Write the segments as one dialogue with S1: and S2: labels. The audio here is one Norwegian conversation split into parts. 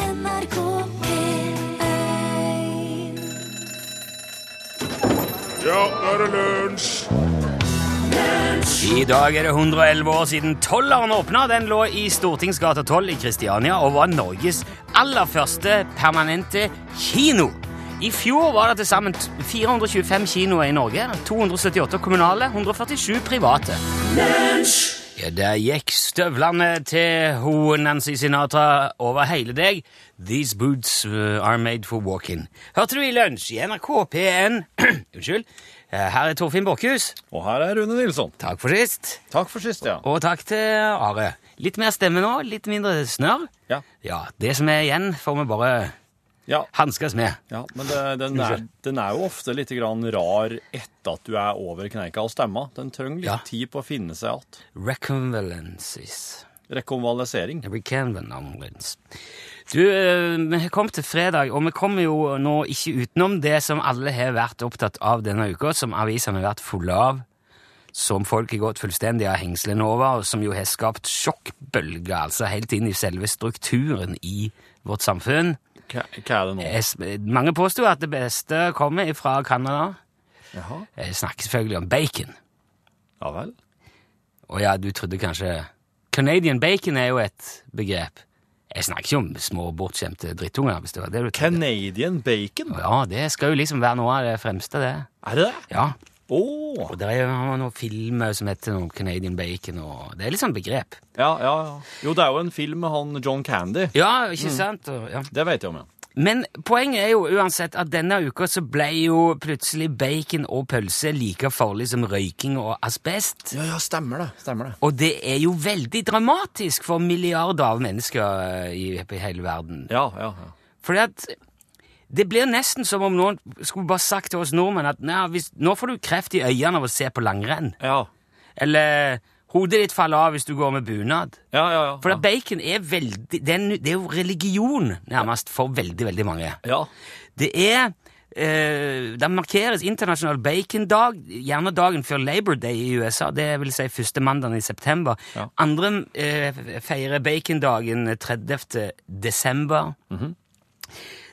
S1: NRK P1
S2: Ja, nå er det lunsj!
S3: I dag er det 111 år siden Tolleren åpna. Den lå i Stortingsgata 12 i Kristiania og var Norges aller første permanente kino. I fjor var det til sammen 425 kinoer i Norge. 278 kommunale, 147 private. Ja, der gikk støvlene til ho Nancy Sinatra over hele deg. These boots uh, are made for walking. Hørte du i lunsj i NRK P1 Unnskyld. Eh, Her er Torfinn Borkhus.
S2: Og her er Rune Nilsson.
S3: Takk for sist.
S2: Takk for sist, ja.
S3: Og takk til Are. Litt mer stemme nå, litt mindre snørr.
S2: Ja,
S3: Ja, det som er igjen, får vi bare
S2: ja,
S3: hanskes med.
S2: ja men det, den, er,
S3: Unnskyld.
S2: den er jo ofte litt grann rar etter at du er over kneika og stemma. Den trenger litt
S3: Ja.
S2: tid på å finne seg igjen.
S3: Reconvalences.
S2: Rekonvalesering.
S3: Reconvalence. Du, eh, vi kom til fredag, og vi kommer jo nå ikke utenom det som alle har vært opptatt av denne uka, som avisene har vært fulle av, som folk har gått fullstendig av hengslene over, og som jo har skapt sjokkbølger, altså helt inn i selve strukturen i vårt samfunn.
S2: Hva, hva er det nå?
S3: Jeg s- Mange påstår at det beste kommer fra Canada.
S2: Jaha.
S3: Jeg snakker selvfølgelig om bacon.
S2: Ja vel.
S3: Og ja, du trodde kanskje Canadian bacon er jo et begrep. Jeg snakker ikke om små, bortskjemte drittunger. hvis det var det du trodde.
S2: Canadian bacon?
S3: Ja, det skal jo liksom være noe av det fremste, det.
S2: Er det det?
S3: Ja,
S2: Å!
S3: og det er jo noen filmer som heter noe om Canadian bacon, og det er litt sånn begrep.
S2: Ja, ja, ja. Jo, det er jo en film med han John Candy.
S3: Ja, ikke sant? Og, ja.
S2: Det vet jeg om, ja.
S3: Men poenget er jo uansett at denne uka så ble jo plutselig bacon og pølse like farlig som røyking og asbest.
S2: Ja, ja, stemmer det. Stemmer det.
S3: Og det er jo veldig dramatisk for milliarder av mennesker eh, i, i hele verden.
S2: Ja, ja, ja.
S3: Fordi at det blir nesten som om noen skulle bare sagt til oss nordmenn at Nei, hvis, nå får du kreft i øynene av å se på langrenn.
S2: Ja,
S3: Eller hodet ditt faller av hvis du går med bunad.
S2: ja, ja. ja.
S3: For at bacon er veldig det er, nu- det er jo religion nærmest for veldig, veldig mange.
S2: ja.
S3: Det er eh, Den markeres internasjonal bacondag, gjerne dagen før Labor Day i USA. Det vil si første mandagen i september.
S2: Ja.
S3: Andre eh, feirer bacondagen 30. desember.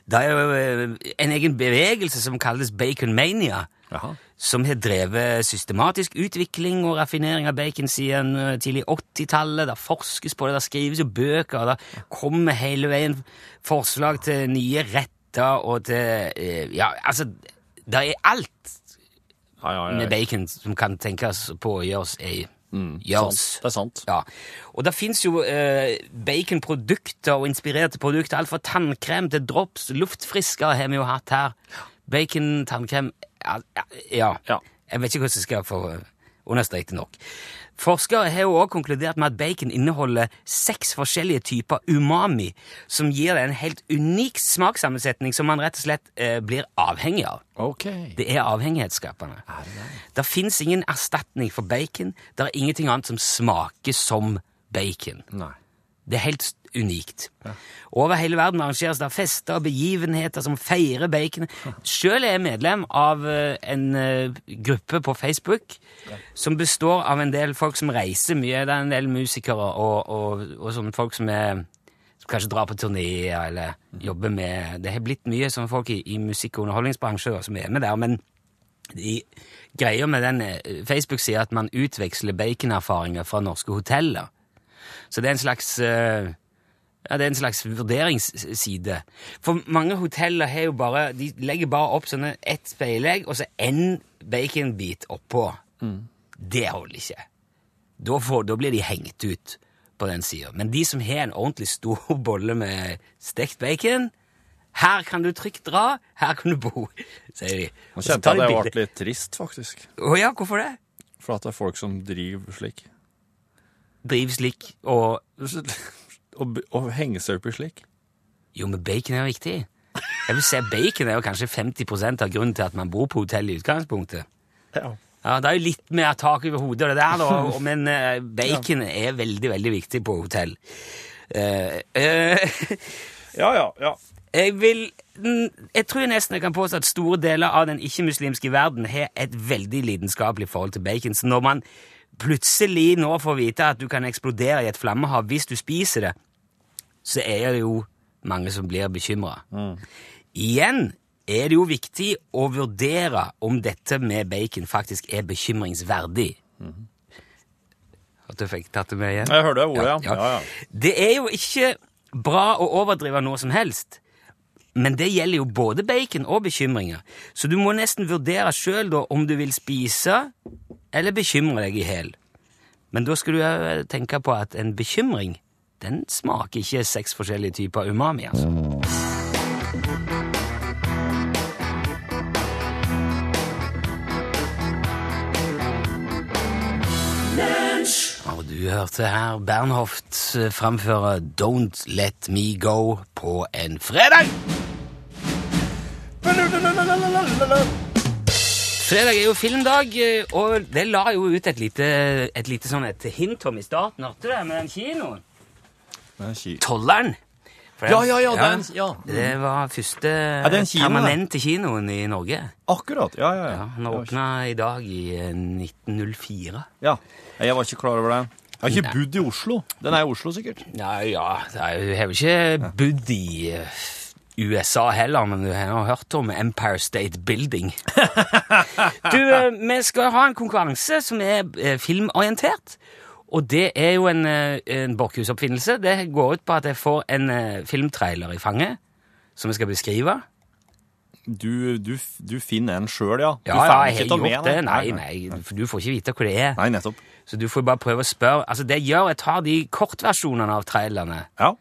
S3: Det er jo eh, en egen bevegelse som kalles baconmania.
S2: Jaha.
S3: Som har drevet systematisk utvikling og raffinering av bacon siden eh, tidlig 80-tallet. Det forskes på det, det skrives jo bøker, og det kommer hele veien forslag til nye retter og til eh, Ja, altså Det er alt
S2: Ja, ja, ja.
S3: med bacon som kan tenkes på å gjøres. i- gjøres.
S2: Sant. Det er sant.
S3: Ja, og det fins jo eh, baconprodukter og inspirerte produkter. Alt fra tannkrem til drops. Luftfrisker har vi jo hatt her. Bacon, tannkrem Ja. ja.
S2: Ja.
S3: Jeg vet ikke hvordan jeg skal få understreket det nok. Forskere har jo også konkludert med at bacon inneholder seks forskjellige typer umami, som gir det en helt unik smakssammensetning som man rett og slett eh, blir avhengig av.
S2: Ok.
S3: Det er avhengighetsskapende. Det fins ingen erstatning for bacon. Det er ingenting annet som smaker som bacon.
S2: Nei.
S3: Det er helt unikt. Over hele verden arrangeres det fester og begivenheter som feirer bacon. Sjøl er jeg medlem av eh, en eh, gruppe på Facebook som består av en del folk som reiser mye. Det er en del musikere og, og, og sånne folk som er som Kanskje drar på turneer eller jobber med Det har blitt mye sånne folk i, i musikk- og underholdningsbransjen som er med der. men de Greia med den eh, Facebook-sida er at man utveksler baconerfaringer fra norske hoteller. Så det er en slags eh, ja, det er en slags vurderingsside. For mange hoteller har jo bare, de legger bare opp sånne ett speilegg og så én baconbit oppå. Det holder ikke. Da, får, da blir de hengt ut på den sida. Men de som har en ordentlig stor bolle med stekt bacon her kan du trygt dra, her kan du bo, sier de.
S2: Nå
S3: Og så
S2: kjente
S3: tar de
S2: jeg at jeg
S3: bilder.
S2: ble litt trist, faktisk.
S3: Å ja, hvorfor det?
S2: For at det er folk som driver slik.
S3: Driv slik og
S2: Å b- å henge seg opp i slik.
S3: Jo, men bacon er jo viktig. Jeg vil si Bacon er jo kanskje 50 av grunnen til at man bor på hotell i utgangspunktet.
S2: Ja.
S3: Ja, Det er jo litt mer tak over hodet, og det der, da, og- men eh, bacon er veldig, veldig viktig på hotell. Eh, eh,
S2: ja, ja,
S3: jeg vil mm, Jeg tror nesten jeg kan påstå at store deler av den ikke-muslimske verden har et veldig lidenskapelig forhold til bacon. Så når man plutselig nå får vite at du kan eksplodere i et flammehav hvis du spiser det, så er det jo mange som blir bekymra. Igjen er det jo viktig å vurdere om dette med bacon faktisk er bekymringsverdig. At du fikk tatt det med igjen?
S2: Jeg hørte det ordet, ja.
S3: Ja,
S2: ja. ja,
S3: Det er jo ikke bra å overdrive noe som helst. Men det gjelder jo både bacon og bekymringer. Så du må nesten vurdere sjøl om du vil spise eller bekymre deg i hjel. Men da skal du òg tenke på at en bekymring den smaker ikke seks forskjellige typer umami. altså. Og du hørte her Bernhoft eh, framføre Don't Let Me Go på en fredag! Fredag er jo filmdag, eh, og det la jo ut et lite, et lite sånn et hint om i starten. Hørte du det med den kinoen?
S2: Det er ki-
S3: Tolleren. For den-
S2: Ja, ja, ja, den- ja.
S3: Det var første
S2: det en kino, da?
S3: permanente kinoen i Norge.
S2: Akkurat. Ja, ja,
S3: Ja,
S2: ja.
S3: den åpna i dag i eh, 1904.
S2: Ja. Jeg var ikke klar over det. Jeg har ikke
S3: Nei.
S2: bodd i Oslo. Den er i Oslo, sikkert.
S3: Nei, ja, det er jo- jeg har jo ikke bodd i eh, USA heller, men jeg har hørt om Empire State Building. Du, eh, vi skal ha en konkurranse som er eh, filmorientert. Og det er jo en, eh, en Borchhus-oppfinnelse. Det går ut på at jeg får en eh, filmtrailer i fanget som jeg skal beskrive.
S2: Du, du, f- du finner en sjøl, ja. Du
S3: Ja, ja,
S2: får
S3: jeg
S2: ikke ta
S3: har
S2: med
S3: gjort det.
S2: den.
S3: Nei, nei, for du får ikke vite hva det er.
S2: Nei, nettopp.
S3: Så du får bare prøve å spørre. Altså, det jeg gjør, jeg tar de kortversjonene av trailerne.
S2: Ja.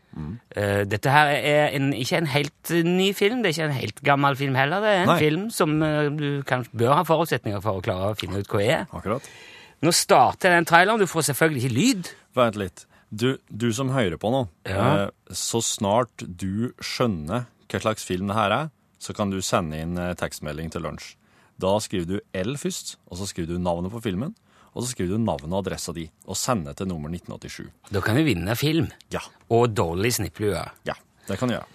S3: Eh, dette her er en, ikke en helt eh, ny film, det er ikke en helt gammel film heller. Det er en
S2: Nei.
S3: film som eh, du kanskje bør ha forutsetninger for å klare å finne ut hva er.
S2: Akkurat.
S3: Nå starter den traileren, du får selvfølgelig ikke lyd.
S2: Vent litt. Du, du som hører på nå,
S3: Ja.
S2: eh, så snart du skjønner hva slags film det her er, så kan du sende inn eh, tekstmelding til lunsj. Da skriver du L først, og så skriver du navnet på filmen, og så skriver du navnet og adressa di, og sender til nummer 1987.
S3: Da kan du vinne film.
S2: Ja.
S3: Og dårlig snipplue.
S2: Ja, det kan du gjøre.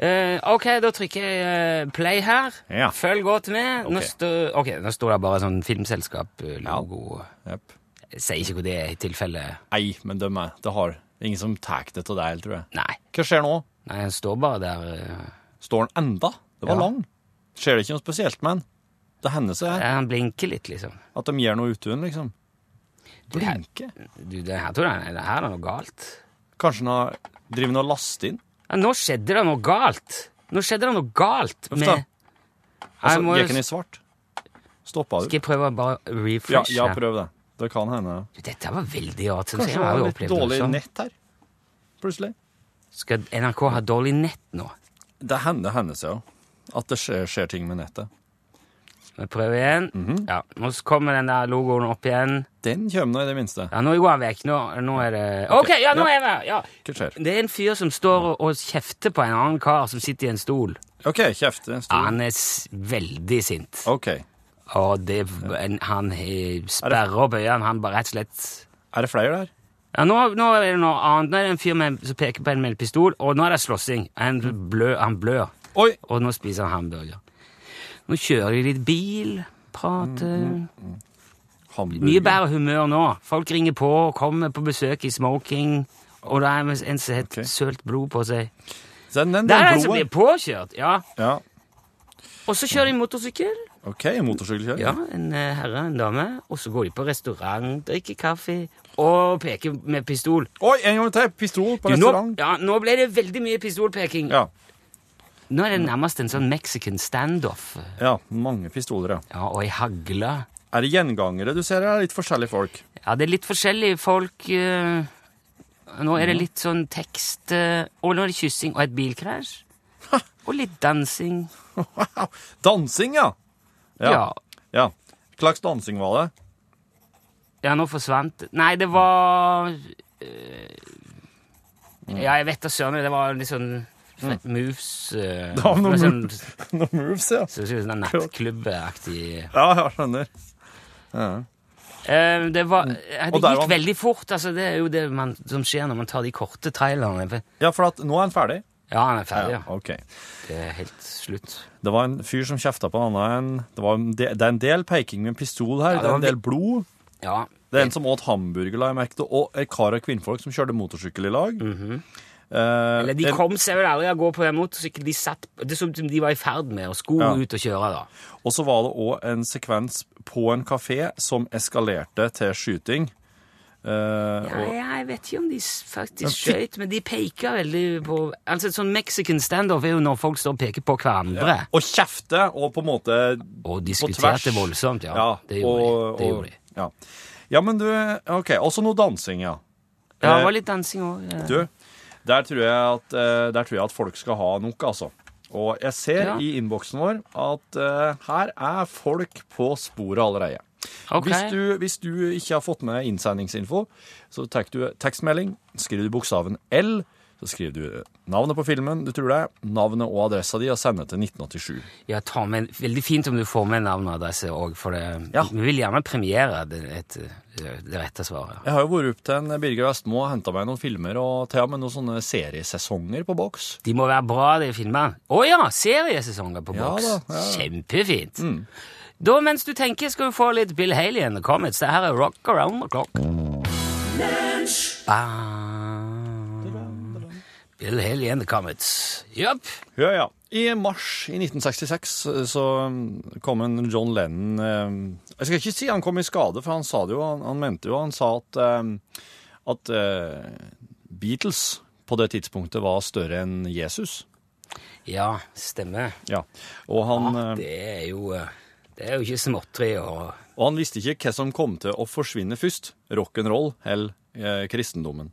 S3: Eh, ok, da trykker jeg eh, play her.
S2: Ja.
S3: Følg godt med. Nå,
S2: Ok.
S3: stå, ok, nå står det bare sånn filmselskap-logo.
S2: Jepp.
S3: Jeg sier ikke hva det er i tilfelle
S2: Nei, men de er, det har det er ingen som tar det til deg, tror jeg.
S3: Nei.
S2: Hva skjer nå?
S3: Nei, den står bare der. eh.
S2: Står den enda? Det var
S3: Ja.
S2: lang. Skjer det ikke noe spesielt med den? Det hender seg
S3: Ja, eh, Han blinker litt, liksom.
S2: at de gjør noe uten, liksom. Blinke.
S3: Du, det her tror jeg det her er noe galt.
S2: Kanskje den har driver den og laster inn?
S3: Ja, nå skjedde det noe galt. Nå skjedde det noe galt
S2: Uff
S3: med
S2: da.
S3: Jeg
S2: Altså,
S3: må,
S2: gikk den i svart? Stoppa du?
S3: Skal jeg prøve å bare
S2: Ja,
S3: refresh?
S2: ja,
S3: her?
S2: prøv det. Det kan hende.
S3: Du, Dette var veldig rart. synes jeg.
S2: Kanskje
S3: Jeg
S2: det
S3: har
S2: var
S3: jo
S2: litt
S3: opplevd det
S2: dårlig
S3: også.
S2: nett her. Plutselig.
S3: Skal NRK ha dårlig nett nå?
S2: Det hender, hender seg jo at det skjer, skjer ting med nettet.
S3: Vi prøver igjen.
S2: Mhm.
S3: Ja, Nå kommer den der logoen opp igjen.
S2: Den kommer nå, i det minste.
S3: Ja, Nå går han vekk. Nå, nå er det OK, ja, nå
S2: Ja.
S3: er vi her! Ja.
S2: Hva skjer?
S3: Det er en fyr som står og- og kjefter på en annen kar som sitter i en stol.
S2: OK, kjeft. En
S3: Ja,
S2: stol.
S3: han er s veldig sint.
S2: OK.
S3: Og det, en, han eh, sperrer opp øynene. Han bare rett og slett
S2: Er det flere der?
S3: Ja, nå, nå er det noe annet. Nå er det en fyr med, som peker på en med en pistol, og nå er det slåssing. Han,
S2: Mm.
S3: blø, han blør,
S2: Oi!
S3: og nå spiser han hamburger. Nå kjører de litt bil, prater
S2: Mm,
S3: Mye
S2: Hamburger.
S3: bedre humør nå. Folk ringer på og kommer på besøk i smoking, og det er en som har
S2: Ok.
S3: sølt blod på seg.
S2: Se, den, den,
S3: Det er
S2: den
S3: en som blir
S2: blodet.
S3: påkjørt, ja.
S2: Ja.
S3: Og så kjører de motorsykkel.
S2: OK, motorsykkelkjøring.
S3: Ja, en eh, herre, en dame. Og så går de på restaurant, drikker kaffe og peker med pistol.
S2: Oi, en gang til! Pistol på
S3: Du, nå,
S2: restaurant.
S3: ja, nå ble det veldig mye pistolpeking.
S2: Ja.
S3: Nå er det nærmest en sånn Mexican standoff.
S2: ja. Mange pistoler, ja.
S3: Ja, og ei hagle.
S2: Er det gjengangere du ser, eller er det litt forskjellige folk?
S3: Ja, det er litt forskjellige folk. eh, Nå er det
S2: Mhm.
S3: litt sånn tekst eh, Og nå er det kyssing og et bilkrasj. Og litt dansing.
S2: Wow. Dansing, ja.
S3: Ja. ja.
S2: ja. Hva slags dansing var det?
S3: nå forsvant Nei, det var eh, Ja, jeg vet da søren. Det var litt sånn moves eh,
S2: Mm. Det var noen
S3: sånn,
S2: Noen moves, ja.
S3: så- så- sånn Nattklubbaktig
S2: Ja, jeg skjønner.
S3: Eh, Det, var, eh, det
S2: Mm. Og der var
S3: gikk
S2: han.
S3: veldig fort. Altså, det er jo det man, som skjer når man tar de korte trailerne.
S2: Ja, for at nå er han ferdig.
S3: Ja, han er ferdig. Ja.
S2: Ok.
S3: Det er helt slutt.
S2: Det var en fyr som kjefta på en annen. Det, var en del, det er en del peking med en pistol
S3: Ja,
S2: her.
S3: det
S2: det er
S3: var
S2: en del blod.
S3: Ja.
S2: Det er en som åt hamburger, la jeg merke til. Og en kar og kvinnfolk som kjørte motorsykkel i lag. Eh,
S3: Mhm. Eller de kom seg vel aldri av å gå på den motorsykkelen. De satt, det så ut som de var i ferd med å skulle
S2: Ja.
S3: ut og kjøre, da.
S2: Og så var det òg en sekvens på en kafé som eskalerte til skyting. Eh,
S3: Ja,
S2: og,
S3: ja, jeg vet ikke om de s- faktisk skøyt, men de peker veldig på Altså, et sånn Mexican standoff er jo når folk står og peker på hverandre.
S2: og kjefte og på en måte
S3: Og
S2: tvers.
S3: diskuterte voldsomt, ja.
S2: Ja,
S3: det gjorde
S2: og-
S3: de. Det
S2: og-
S3: gjorde de.
S2: Ja. ja, men du OK. Også noe dansing, ja.
S3: Ja,
S2: eh,
S3: det var litt dansing eh. òg.
S2: Du, der tror jeg at, eh, der tror jeg at folk skal ha nok, altså. Og jeg ser
S3: Ja.
S2: i innboksen vår at eh, her er folk på sporet allerede. Hvis, du, hvis du ikke har fått med innsendingsinfo, så tar du tekstmelding, skriver du bokstaven L, så skriver du navnet på filmen du tror det er, navnet og adressa di, og sender til 1987.
S3: Ja, ta med, Veldig fint om du får med navn og adresse òg, for det,
S2: Ja.
S3: vi vil gjerne premiere det, et, det rette svaret.
S2: Jeg har jo vært opp til en Birger Vestmo og henta meg noen filmer og til og med noen sånne seriesesonger på boks.
S3: De må være bra, de filmene. Å ja! Seriesesonger på
S2: Ja
S3: boks.
S2: da, ja. Mm.
S3: Kjempefint. Da, mens du tenker, skal du få litt Bill Haley and the Comets. Det her er Rock Around the Clock. Bam. Bill Haley and the Comets. Jepp.
S2: Ja, ja. I mars i 1966 så mm, kom en John Lennon eh, Jeg skal ikke si han kom i skade, for han sa det jo, han, han mente jo, han sa at, eh, at eh, Beatles på det tidspunktet var større enn Jesus.
S3: Ja, stemmer.
S2: Ja. Og han, eh,
S3: Det er jo eh, Det er jo ikke småtteri og
S2: og han visste ikke hva som kom til å forsvinne først, rock'n'roll eller eh, kristendommen.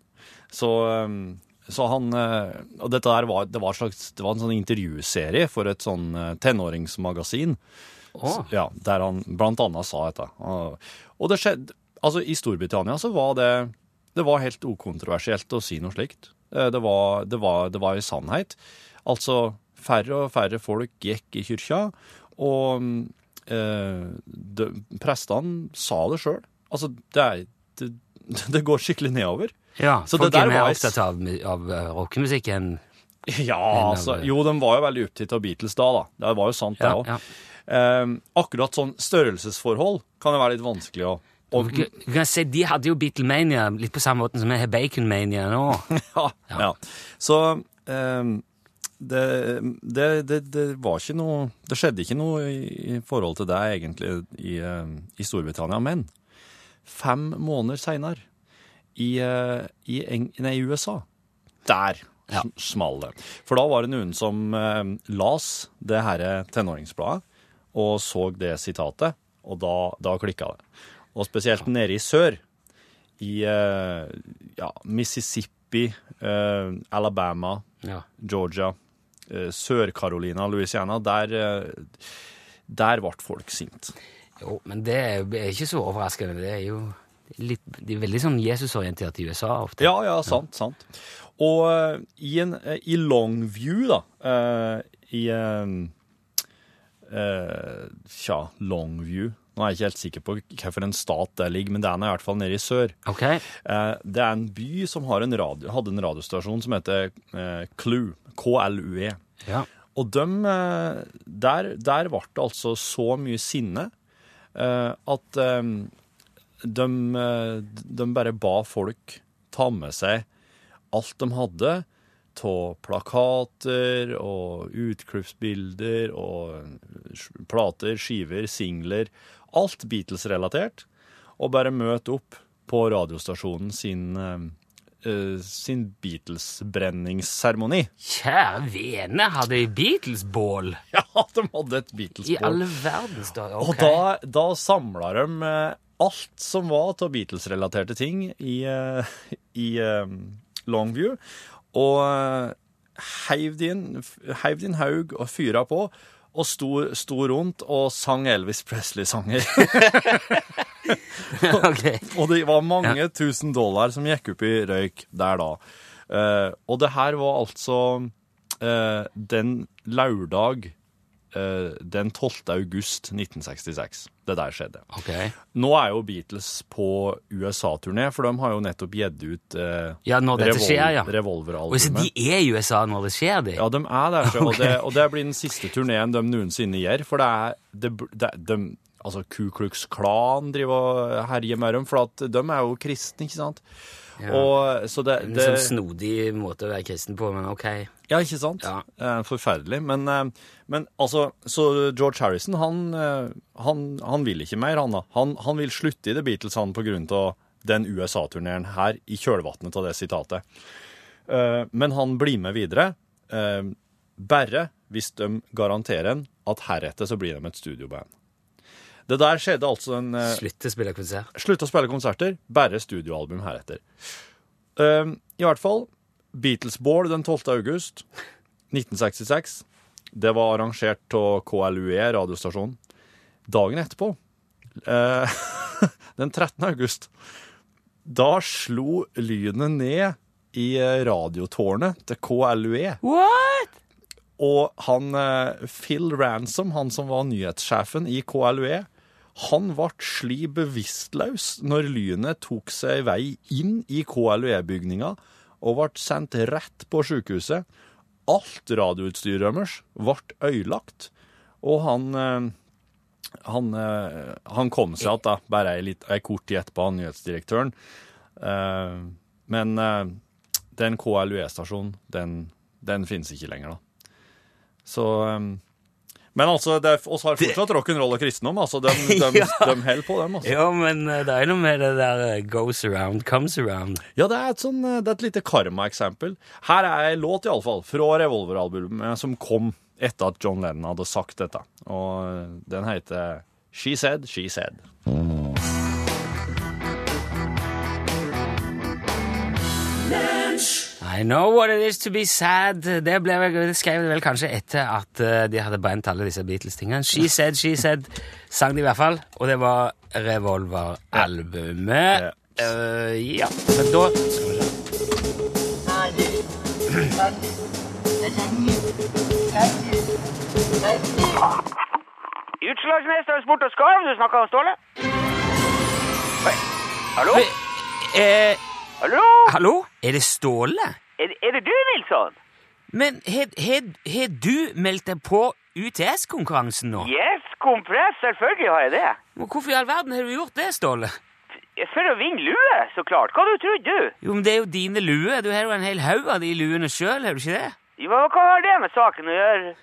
S2: Så, eh, så han eh, Og dette her var, det var, en slags, det var en sånn intervjuserie for et sånn eh, tenåringsmagasin.
S3: Å.
S2: Ja, der han blant annet sa dette. Og- Og det skjedde Altså, i Storbritannia så var det Det var helt ukontroversielt å si noe slikt. Eh, Det var, det var, det var i sannhet. Altså, færre og færre folk gikk i kyrkja, og mm, eh, det- prestene sa det sjøl. Altså, det er det, det går skikkelig nedover.
S3: Ja,
S2: Så
S3: folk
S2: det der
S3: er mer
S2: var-
S3: opptatt av, av eh, rockemusikk enn
S2: Ja, altså. Jo, de var jo veldig opptatt av Beatles da, da. Det var jo sant, det
S3: ja,
S2: òg.
S3: ja.
S2: akkurat sånn størrelsesforhold kan det være litt vanskelig å å-
S3: Du kan si, De hadde jo Beatlemania litt på samme måten som vi har Baconmania nå.
S2: Ja. ja. Så ehm, det, det, det, det var ikke noe Det skjedde ikke noe i, i forhold til det, egentlig, i, ehm, i Storbritannia. Men fem måneder seinere, i, eh, i, Eng- nei, i USA Der
S3: Ja.
S2: sm- small det. For da var det noen som ehm, las det herre tenåringsbladet, og så det sitatet, og da, da klikka det. Og spesielt nede i sør i eh, ja, Mississippi, eh, Alabama,
S3: Ja.
S2: Georgia, eh, Sør-Carolina, Louisiana, der, eh, der ble folk sint.
S3: Jo, men det er jo er ikke så overraskende. Det er jo litt, de er veldig sånn Jesusorientert i USA ofte.
S2: Ja, ja, sant, sant. Og eh, i, en, eh, i Longview, da, eh, i eh, eh, Tja, Longview Nå er jeg ikke helt sikker på hvilken stat det ligger, men det er nå i hvert fall nede i sør.
S3: Ok,
S2: Eh, Det er en by som har en radio, hadde en radiostasjon som heter eh, KLUE. K-L-U-E.
S3: ja.
S2: Og dem, eh, der, der ble det altså så mye sinne eh, at eh, de, eh, de bare ba folk ta med seg alt de hadde av plakater og utklippsbilder og sk- plater, skiver, singler. Alt Beatles-relatert. Og bare møte opp på radiostasjonen sin, eh, eh, sin Beatles-brenningsseremoni.
S3: Kjære vene, hadde de Beatles-bål?
S2: Ja, de hadde et beatles
S3: I all verdens dag.
S2: Og
S3: ok.
S2: da, da samla de eh, alt som var av Beatles-relaterte ting i, eh, i eh, Longview, og eh, heiv det inn- heiv det inn haug og fyra på. Og sto, sto rundt og sang Elvis Presley-sanger.
S3: Ok.
S2: og det var mange tusen dollar som gikk opp i røyk der da. Eh, og det her var altså eh, den lørdag eh, den 12. august 1966. Det der skjedde.
S3: ok.
S2: Nå er jo Beatles på USA-turné, for de har jo nettopp gitt ut eh,
S3: Ja, når dette skjer, ja. Og så
S2: revolveralbumet.
S3: De er i USA når det skjer, de.
S2: Ja, de er der, så, og, det, og det blir den siste turneen de noensinne gjør. For det er det, bl- det, de, Altså, Ku Klux Klan driver og herjer med dem, for at de er jo kristne, ikke sant? Og, så det,
S3: En
S2: det
S3: sånn snodig måte å være kristen på, men ok.
S2: Ja, ikke sant?
S3: Ja.
S2: Eh, Forferdelig. Men, eh, men altså Så George Harrison, han, eh, han, han vil ikke mer, han da. Han, han vil slutte i The Beatles, han, på grunn av den USA-turneren her, i kjølvannet av det sitatet. Eh, Men han blir med videre, eh, bare hvis de garanterer en at heretter så blir de et studioband. Det der skjedde altså en eh,
S3: Slutte å spille konsert.
S2: Slutt å spille konserter, bare studioalbum heretter. Ehm, I hvert fall, Beatles Ball den 12. august 1966. Det var arrangert av KLUE, E, radiostasjonen. Dagen etterpå, eh, den 13. august, da slo lynet ned i eh, radiotårnet til KLUE.
S3: What?!
S2: Og han, eh, Phil Ransom, han som var nyhetssjefen i KLUE, E, han ble sli bevisstløs når lynet tok seg vei inn i KLUE-bygninga og ble sendt rett på sykehuset. Alt radioutstyret deres ble ødelagt, og han eh, han, eh, han kom seg igjen, da, bare ei, litt, ei kort tid etterpå, han nyhetsdirektøren. Eh, Men eh, den KLUE-stasjonen, den, den finnes ikke lenger, da. Så um, Men altså, det er, oss har fortsatt rock'n'roll og kristendom. Altså, de, de,
S3: Ja.
S2: de holder på, dem. Altså.
S3: Ja, men eh, det er noe med det der eh, goes around, comes around.
S2: Ja, det er et, sånn, eh, det er et lite karmaeksempel. Her er ei låt, iallfall, fra Revolver-albumet som kom etter at John Lennon hadde sagt dette. Og eh, den heter She Said, She Said.
S3: I know what it is to be sad. Det, ble vel, det skrev de vel kanskje etter at eh, de hadde brent alle disse Beatles-tingene. She said, she said, sang de i hvert fall. Og det var Revolver-albumet. Eh, ja, men da skal vi se.
S1: Utslagsmester i sport og skarv, du snakker om Ståle? Oi. Hallo?
S3: Eh,
S1: Hallo?
S3: hallo? Er det Ståle?
S1: Er, er det du, Nilsson?
S3: Men har har du meldt deg på UTS-konkurransen nå?
S1: Yes, kompress, selvfølgelig har jeg det.
S3: Men Hvorfor i all verden har du gjort det, Ståle?
S1: For å vinne lue, så klart. Hva du trodde du?
S3: Jo, men det er jo dine luer. Du har jo en hel haug av de luene sjøl, har du ikke det?
S1: Jo, men Hva har det med saken å gjøre?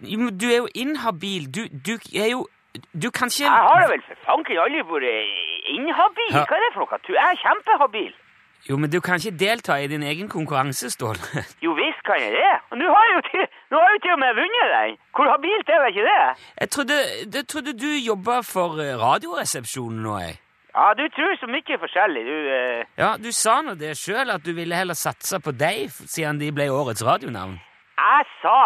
S3: Jo, men du er jo inhabil. Du, du er jo Du kan ikke
S1: Jeg har da vel for fanken aldri vært inhabil?
S3: Ja.
S1: Hva er det for noe? Du er kjempehabil.
S3: Jo, men du kan ikke delta i din egen konkurranse, Ståle.
S1: Jo visst kan jeg det. Og nå har jeg jo til, nå har jeg jo til og med vunnet den. Hvor habilt er vel ikke det?
S3: Jeg trodde, jeg trodde du jobba for eh, Radioresepsjonen nå, jeg.
S1: Ja, du tror så mye forskjellig, du. Eh.
S3: Ja, du sa nå det sjøl, at du ville heller satse på deg, f- siden de ble årets radionavn.
S1: Jeg sa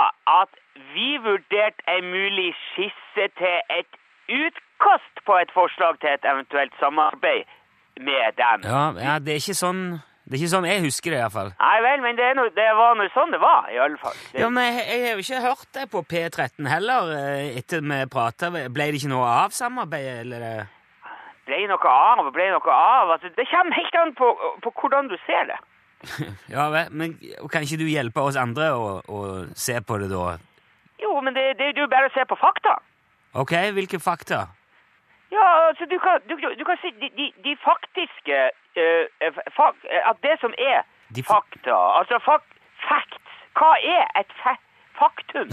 S1: at vi vurderte en mulig skisse til et utkast på et forslag til et eventuelt samarbeid med dem.
S3: Ja, ja det er ikke sånn Det er ikke sånn jeg husker det, iallfall.
S1: Nei vel, men det, er noe, det var nå sånn det var, i alle fall. Det,
S3: Ja, men jeg, jeg har jo ikke hørt deg på P13 heller, eh, etter vi prata. Ble det ikke noe av samarbeidet, eller? eh?
S1: ble noe av og ble noe av. Altså, det kommer helt an på, på hvordan du ser det.
S3: Ja vel, men kan ikke du hjelpe oss andre å, å se på det, da?
S1: Jo, men det, det er jo bare å se på fakta.
S3: Ok, hvilke fakta?
S1: Ja, altså, du kan, du, du kan si de, de, de faktiske eh, eh, fak, eh, At det som er
S3: De fa-
S1: fakta Altså fak, facts. Hva er et fa faktum?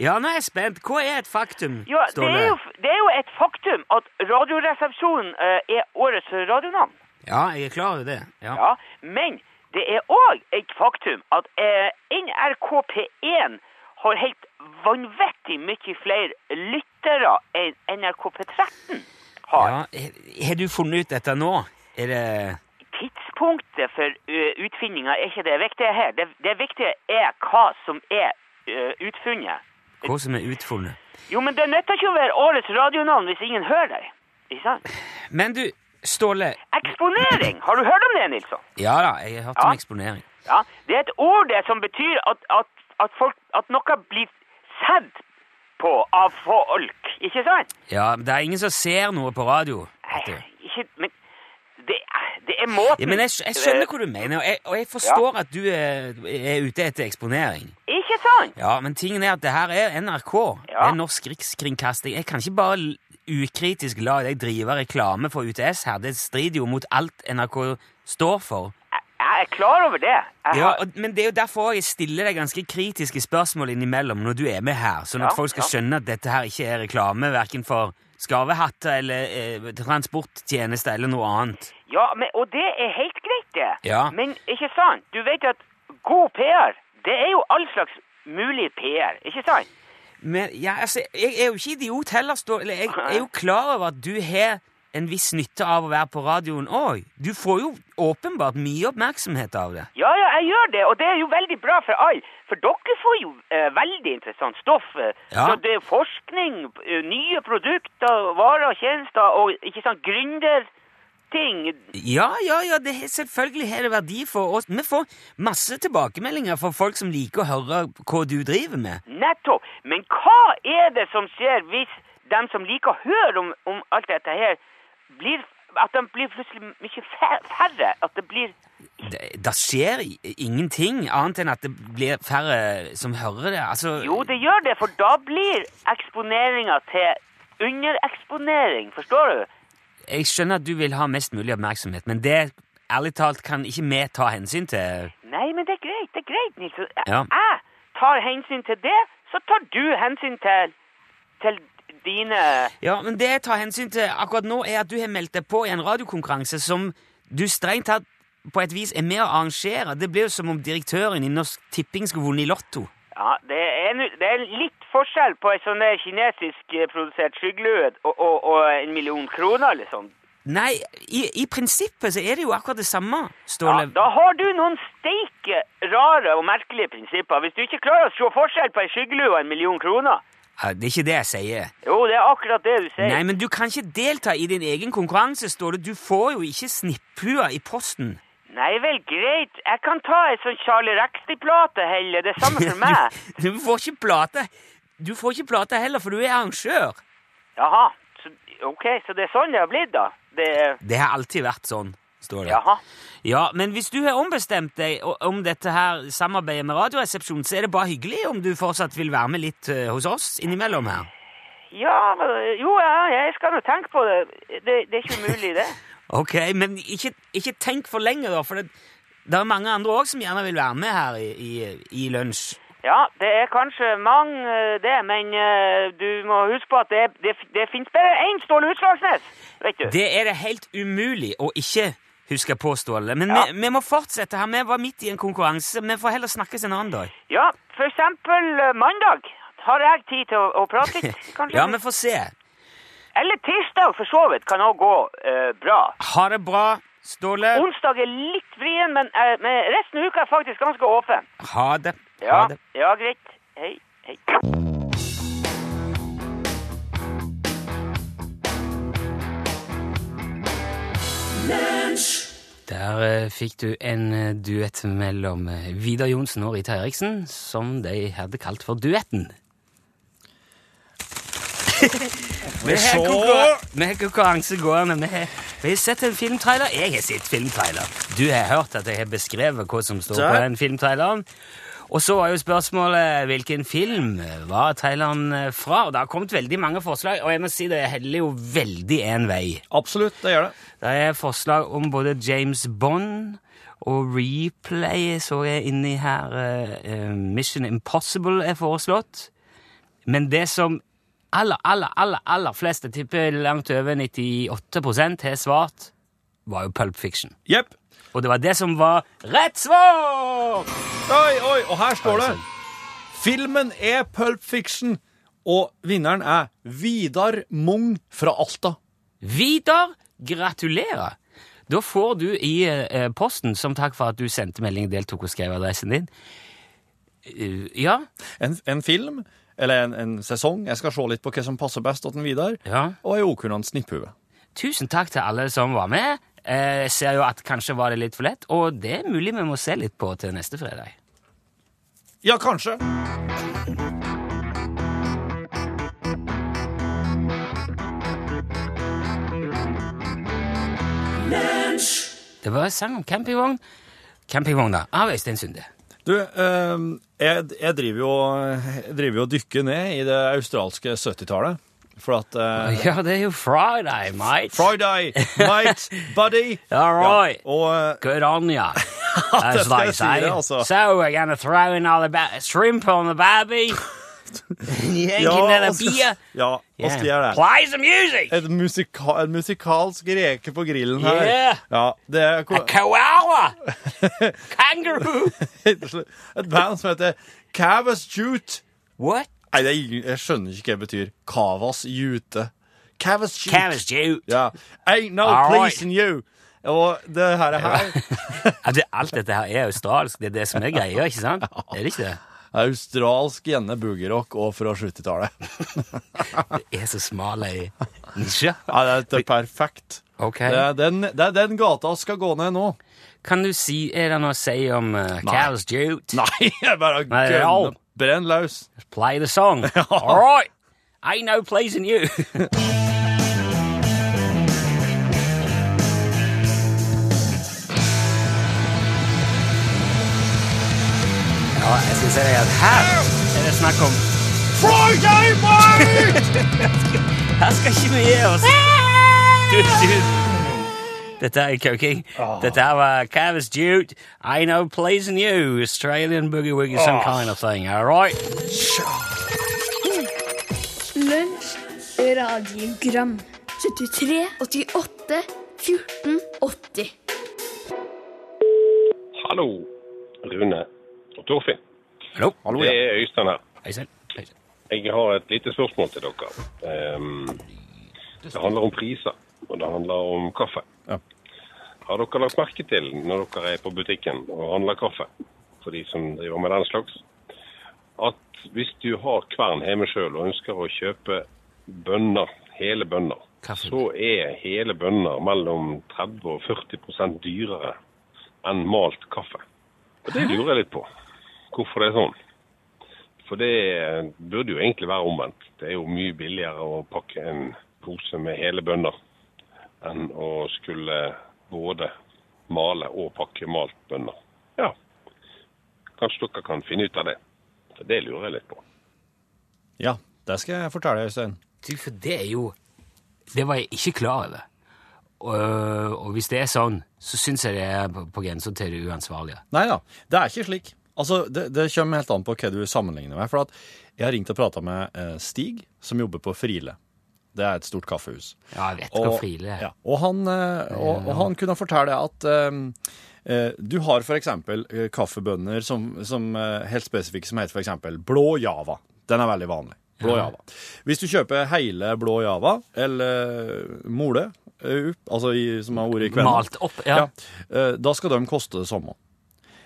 S3: Ja, nå er jeg spent. Hva er et faktum,
S1: Ja, det
S3: Ståle?
S1: er, jo, det er jo et faktum at Radioresepsjonen eh, er årets radionavn.
S3: Ja, jeg er klar over det. Ja.
S1: Ja, men det er òg et faktum at eh, NRK P1 har helt vanvittig mye flere lyttere enn NRK P13 har.
S3: Ja, he- Har du funnet ut dette nå? Er det
S1: Tidspunktet for uh, utfinninga er ikke det viktige her. Det, det viktige er hva som er eh, utfunnet.
S3: hva som er utfunnet?
S1: Jo, men det nytter ikke å være årets radionavn hvis ingen hører deg. Ikke sant?
S3: Men du, Ståle.
S1: Eksponering! Har du hørt om det, Nilsson?
S3: Ja da, jeg har hørt
S1: Ja.
S3: om eksponering.
S1: Ja, det er et ord det som betyr at, at, at, folk, at noe blir sett på av folk, ikke sant?
S3: Ja, Det er ingen som ser noe på radio. vet du.
S1: Nei, Ikke, men det, er- det er måten...
S3: Ja, men jeg, skj- jeg skjønner hva du mener, og jeg, og jeg forstår at du er, er ute etter eksponering.
S1: Eh, Ikke sant?
S3: Ja, men tingen er at det her er NRK. Det
S1: Ja.
S3: er norsk rikskringkasting. Jeg kan ikke bare l- ukritisk la deg drive reklame for UTS her. Det strider jo mot alt NRK står for.
S1: Eh, Jeg er klar over det. Jeg
S3: Ja,
S1: har-
S3: og, men det er jo derfor jeg stiller deg ganske kritiske spørsmål innimellom når du er med her, sånn at
S1: Ja,
S3: folk skal
S1: ja.
S3: skjønne at dette her ikke er reklame verken for skarvehatter eller eh, transporttjenester eller noe annet.
S1: Ja, men, og det er helt greit, det.
S3: Ja.
S1: Men ikke sant? Du vet at god PR, det er jo all slags mulig PR, ikke sant?
S3: Men ja, altså, jeg er jo ikke idiot heller, Ståle. Eller, Jeg er jo klar over at du har en viss nytte av å være på radioen òg. Du får jo åpenbart mye oppmerksomhet av det.
S1: Ja, ja, jeg gjør det, og det er jo veldig bra for alle. For dere får jo eh, veldig interessant stoff. eh.
S3: Ja.
S1: Så det er forskning, eh, nye produkter, varer og tjenester, og ikke sant, gründerting.
S3: Ja, ja, ja, det har- selvfølgelig har det verdi for oss. Vi får masse tilbakemeldinger fra folk som liker å høre hva du driver med.
S1: Nettopp. Men hva er det som skjer hvis de som liker å høre om, om alt dette her, blir, at de blir plutselig mye fær- færre? At det blir
S3: Det, det skjer i- ingenting annet enn at det blir færre som hører det. Altså,
S1: Jo, det gjør det, for da blir eksponeringa til undereksponering, forstår du?
S3: Jeg skjønner at du vil ha mest mulig oppmerksomhet, men det ærlig talt kan ikke vi ta hensyn til.
S1: Nei, men det er greit, det er greit, Nils. Jeg,
S3: Ja.
S1: jeg tar hensyn til det, så tar du hensyn til, til dine
S3: Ja, men det jeg tar hensyn til akkurat nå, er at du har meldt deg på i en radiokonkurranse som du strengt tatt på et vis er med å arrangere. Det blir jo som om direktøren i Norsk Tipping skulle vunnet i Lotto.
S1: Ja, det er, nu- det er litt forskjell på en sånn der kinesisk eh, produsert skyggelue og, og, og en million kroner, liksom.
S3: Nei, i, i prinsippet så er det jo akkurat det samme,
S1: Ja,
S3: Ståle.
S1: da har du noen steike rare og merkelige prinsipper. Hvis du ikke klarer å se forskjell på en skyggelue og en million kroner
S3: Ja, det er ikke det jeg sier.
S1: Jo, det er akkurat det du sier.
S3: Nei, men du kan ikke delta i din egen konkurranse, Ståle. Du får jo ikke snipphua i posten.
S1: Nei vel, greit. Jeg kan ta ei sånn Charlie Rexty-plate heller. Det er samme for meg.
S3: Du, du får ikke plate. Du får ikke plate heller, for du er arrangør.
S1: Jaha. Så, ok, så det er sånn det har blitt, da? Det er
S3: Det har alltid vært sånn, Ståle.
S1: Jaha.
S3: Ja, men hvis du har ombestemt deg o- om dette her samarbeidet med Radioresepsjonen, så er det bare hyggelig om du fortsatt vil være med litt eh, hos oss innimellom her.
S1: Ja, men- jo, ja, jeg skal jo tenke på det. Det, det er ikke umulig, det.
S3: Ok, men ikke, ikke tenk for lenge, da, for det, det er mange andre òg som gjerne vil være med her i, i, i lunsj.
S1: Ja, det er kanskje mange, eh, det, men eh, du må huske på at det, det, det fins bare én Ståle Utslagsnes, vet du.
S3: Det er det helt umulig å ikke huske på, Ståle. Men
S1: Ja.
S3: vi, vi må fortsette her. Vi var midt i en konkurranse. Vi får heller snakkes en annen dag.
S1: Ja, for eksempel eh, mandag. Har jeg tid til å, å prate litt, kanskje?
S3: Ja, vi får se.
S1: Eller tirsdag, for så vidt, kan òg gå eh, bra.
S3: Ha det bra, Ståle.
S1: Onsdag er litt vrien, men, eh, men resten av uka er faktisk ganske åpen.
S3: Ha det. Ha
S1: Ja,
S3: det.
S1: ja greit. Hei, hei.
S3: Der eh, fikk du en eh, duett mellom eh, Vidar Johnsen og Rita Eriksen, som de hadde kalt for Duetten. Vi har
S2: så-
S3: konkurra- vi har konkurranse gående. Vi har, vi har sett en filmtrailer. Jeg har sett filmtrailer. Du har hørt at jeg har beskrevet hva som står på
S2: Der.
S3: den filmtraileren. Og så var jo spørsmålet hvilken film var traileren eh, fra. Og det har kommet veldig mange forslag, og jeg må si det heller jo veldig én vei.
S2: Absolutt, det gjør det.
S3: Det er forslag om både James Bond og Replay, så jeg er inni her. eh, eh, Mission Impossible er foreslått. Men det som aller, aller, aller, aller fleste tipper langt over 98 har svart, var jo Pulp Fiction.
S2: Jepp.
S3: Og det var det som var rett svar!
S2: Oi, oi, og her står det Filmen er Pulp Fiction, og vinneren er Vidar Mung fra Alta.
S3: Vidar, gratulerer! Da får du i eh, posten, som takk for at du sendte melding, deltok og skrev adressen din Eh, Ja?
S2: En, en film, eller en, en sesong, jeg skal se litt på hva som passer best til Vidar,
S3: Ja.
S2: og ei okunnan snipphue.
S3: Tusen takk til alle som var med. Eh, Jeg ser jo at kanskje var det litt for lett, og det er mulig vi må se litt på til neste fredag.
S2: Ja, kanskje.
S3: Det var en sang om campingvogn. Campingvogna av Øystein Sunde.
S2: Du, eh, jeg, jeg, driver jo, jeg driver jo og dykker ned i det australske 70-tallet, for at eh,
S3: Ja, det er jo Friday, mate.
S2: Friday, mate, buddy.
S3: All right.
S2: Ja, og eh,
S3: Good on ya. As
S2: det skal
S3: they
S2: jeg si
S3: say.
S2: det, altså.
S3: So we're gonna throw another ba- shrimp on the barbie. Yanking another
S2: og skal-
S3: beer.
S2: ja, og skal gjøre det.
S3: Play some music!
S2: Et musika en musikalsk reke på grillen her.
S3: Yeah.
S2: Ja, det er
S3: A
S2: ko-
S3: koala! Kangaroo!
S2: et band som heter Cavas Jute.
S3: What?
S2: Nei, det er, ingen- jeg skjønner ikke hva det betyr. Cavas jute. Cavas jute.
S3: Cabbage Jew.
S2: Ja. Ain't no
S3: All right.
S2: pleasing you. Og det her er her.
S3: Ja, det- Alt dette her er australsk. Det er det som er greia, ikke sant? Er det ikke det?
S2: Australsk gjerne boogerock og fra 70-tallet.
S3: Det er så smal ei nisje.
S2: Ja, det er et perfekt.
S3: Ok.
S2: Det er, den, det er den gata vi skal gå ned nå.
S3: Kan du si Er det noe å si om uh, Cows Jute?
S2: Nei, jeg bare
S3: Nei, det er
S2: gønner.
S3: alt.
S2: Brenn løs.
S3: Play the song. All right. Ain't no pleasing you. ja, jeg skal si deg at her er det snakk om
S2: Friday morning!
S3: Her skal ikke vi gi oss. Du, du. Dette er koking.
S2: Ah.
S3: Dette her var Cavis Jute. I know pleasing you. Australian boogie woogie, some
S2: Ah.
S3: kind of thing. All right.
S4: Lunsj, radiogram 73, 88, 14, 80
S5: Hallo, Rune og Torfinn.
S3: Hallo.
S2: Hallo,
S5: Det
S2: ja.
S5: er Øystein her.
S3: Hei sann. Hei sann.
S5: Jeg har et lite spørsmål til dere. Ehm, det handler om priser, og det handler om kaffe.
S2: Ja.
S5: Har dere lagt merke til, når dere er på butikken og handler kaffe, for de som driver med den slags, at hvis du har kvern hjemme sjøl og ønsker å kjøpe bønner, hele bønner,
S3: Kaffe.
S5: så er hele bønner mellom 30 og 40 dyrere enn malt kaffe. Og det lurer jeg litt på. Hvorfor det er sånn? For det burde jo egentlig være omvendt. Det er jo mye billigere å pakke en pose med hele bønner enn å skulle både male og pakke malt bønner. Ja, kanskje dere kan finne ut av det. For det lurer jeg litt på.
S2: Ja, det skal jeg fortelle deg, Øystein.
S3: Du, for det er jo Det var jeg ikke klar over. Og, og hvis det er sånn, så syns jeg det er på, på grensa til det uansvarlige.
S2: Nei da, det er ikke slik. Altså, det, det kommer helt an på hva du sammenligner med. For at jeg har ringt og prata med eh, Stig, som jobber på Friele. Det er et stort kaffehus.
S3: Ja, jeg vet hva frile er.
S2: Ja, og, han, eh, og, og han kunne fortelle at eh, eh, du har for eksempel eh, kaffebønner som, som eh, helt spesifikke som heter for eksempel blå java. Den er veldig vanlig. Blå java. Hvis du kjøper hele blå java, eller mole, eh, opp, altså i, som har vært i kvelden
S3: Malt opp, ja.
S2: eh, Da skal de koste det samme.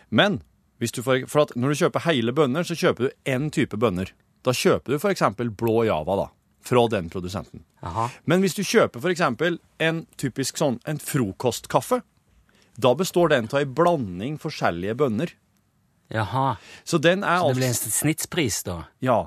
S2: Men hvis du for, for at når du kjøper hele bønner, så kjøper du én type bønner. Da kjøper du for eksempel blå java, da. Fra den produsenten.
S3: Aha.
S2: Men hvis du kjøper for eksempel en typisk sånn, en frokostkaffe, da består den av en blanding forskjellige bønner.
S3: Jaha.
S2: Så den er
S3: Det blir
S2: altså...
S3: en snittpris, da.
S2: Ja.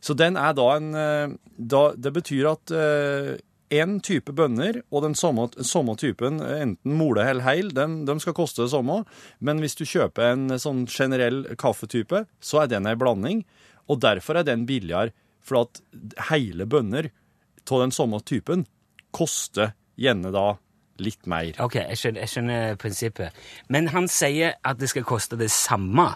S2: Så den er da en... eh, Da, det betyr at eh, en type bønner og den samme, samme typen, eh, enten mole eller heil, dem- de skal koste det samme. Men hvis du kjøper en sånn generell kaffetype, så er den en blanding. Og derfor er den billigere, for at hele bønner av den samme typen koster gjerne da litt mer.
S3: Ok, jeg skjønner, jeg skjønner prinsippet. Men han sier at det skal koste det samme.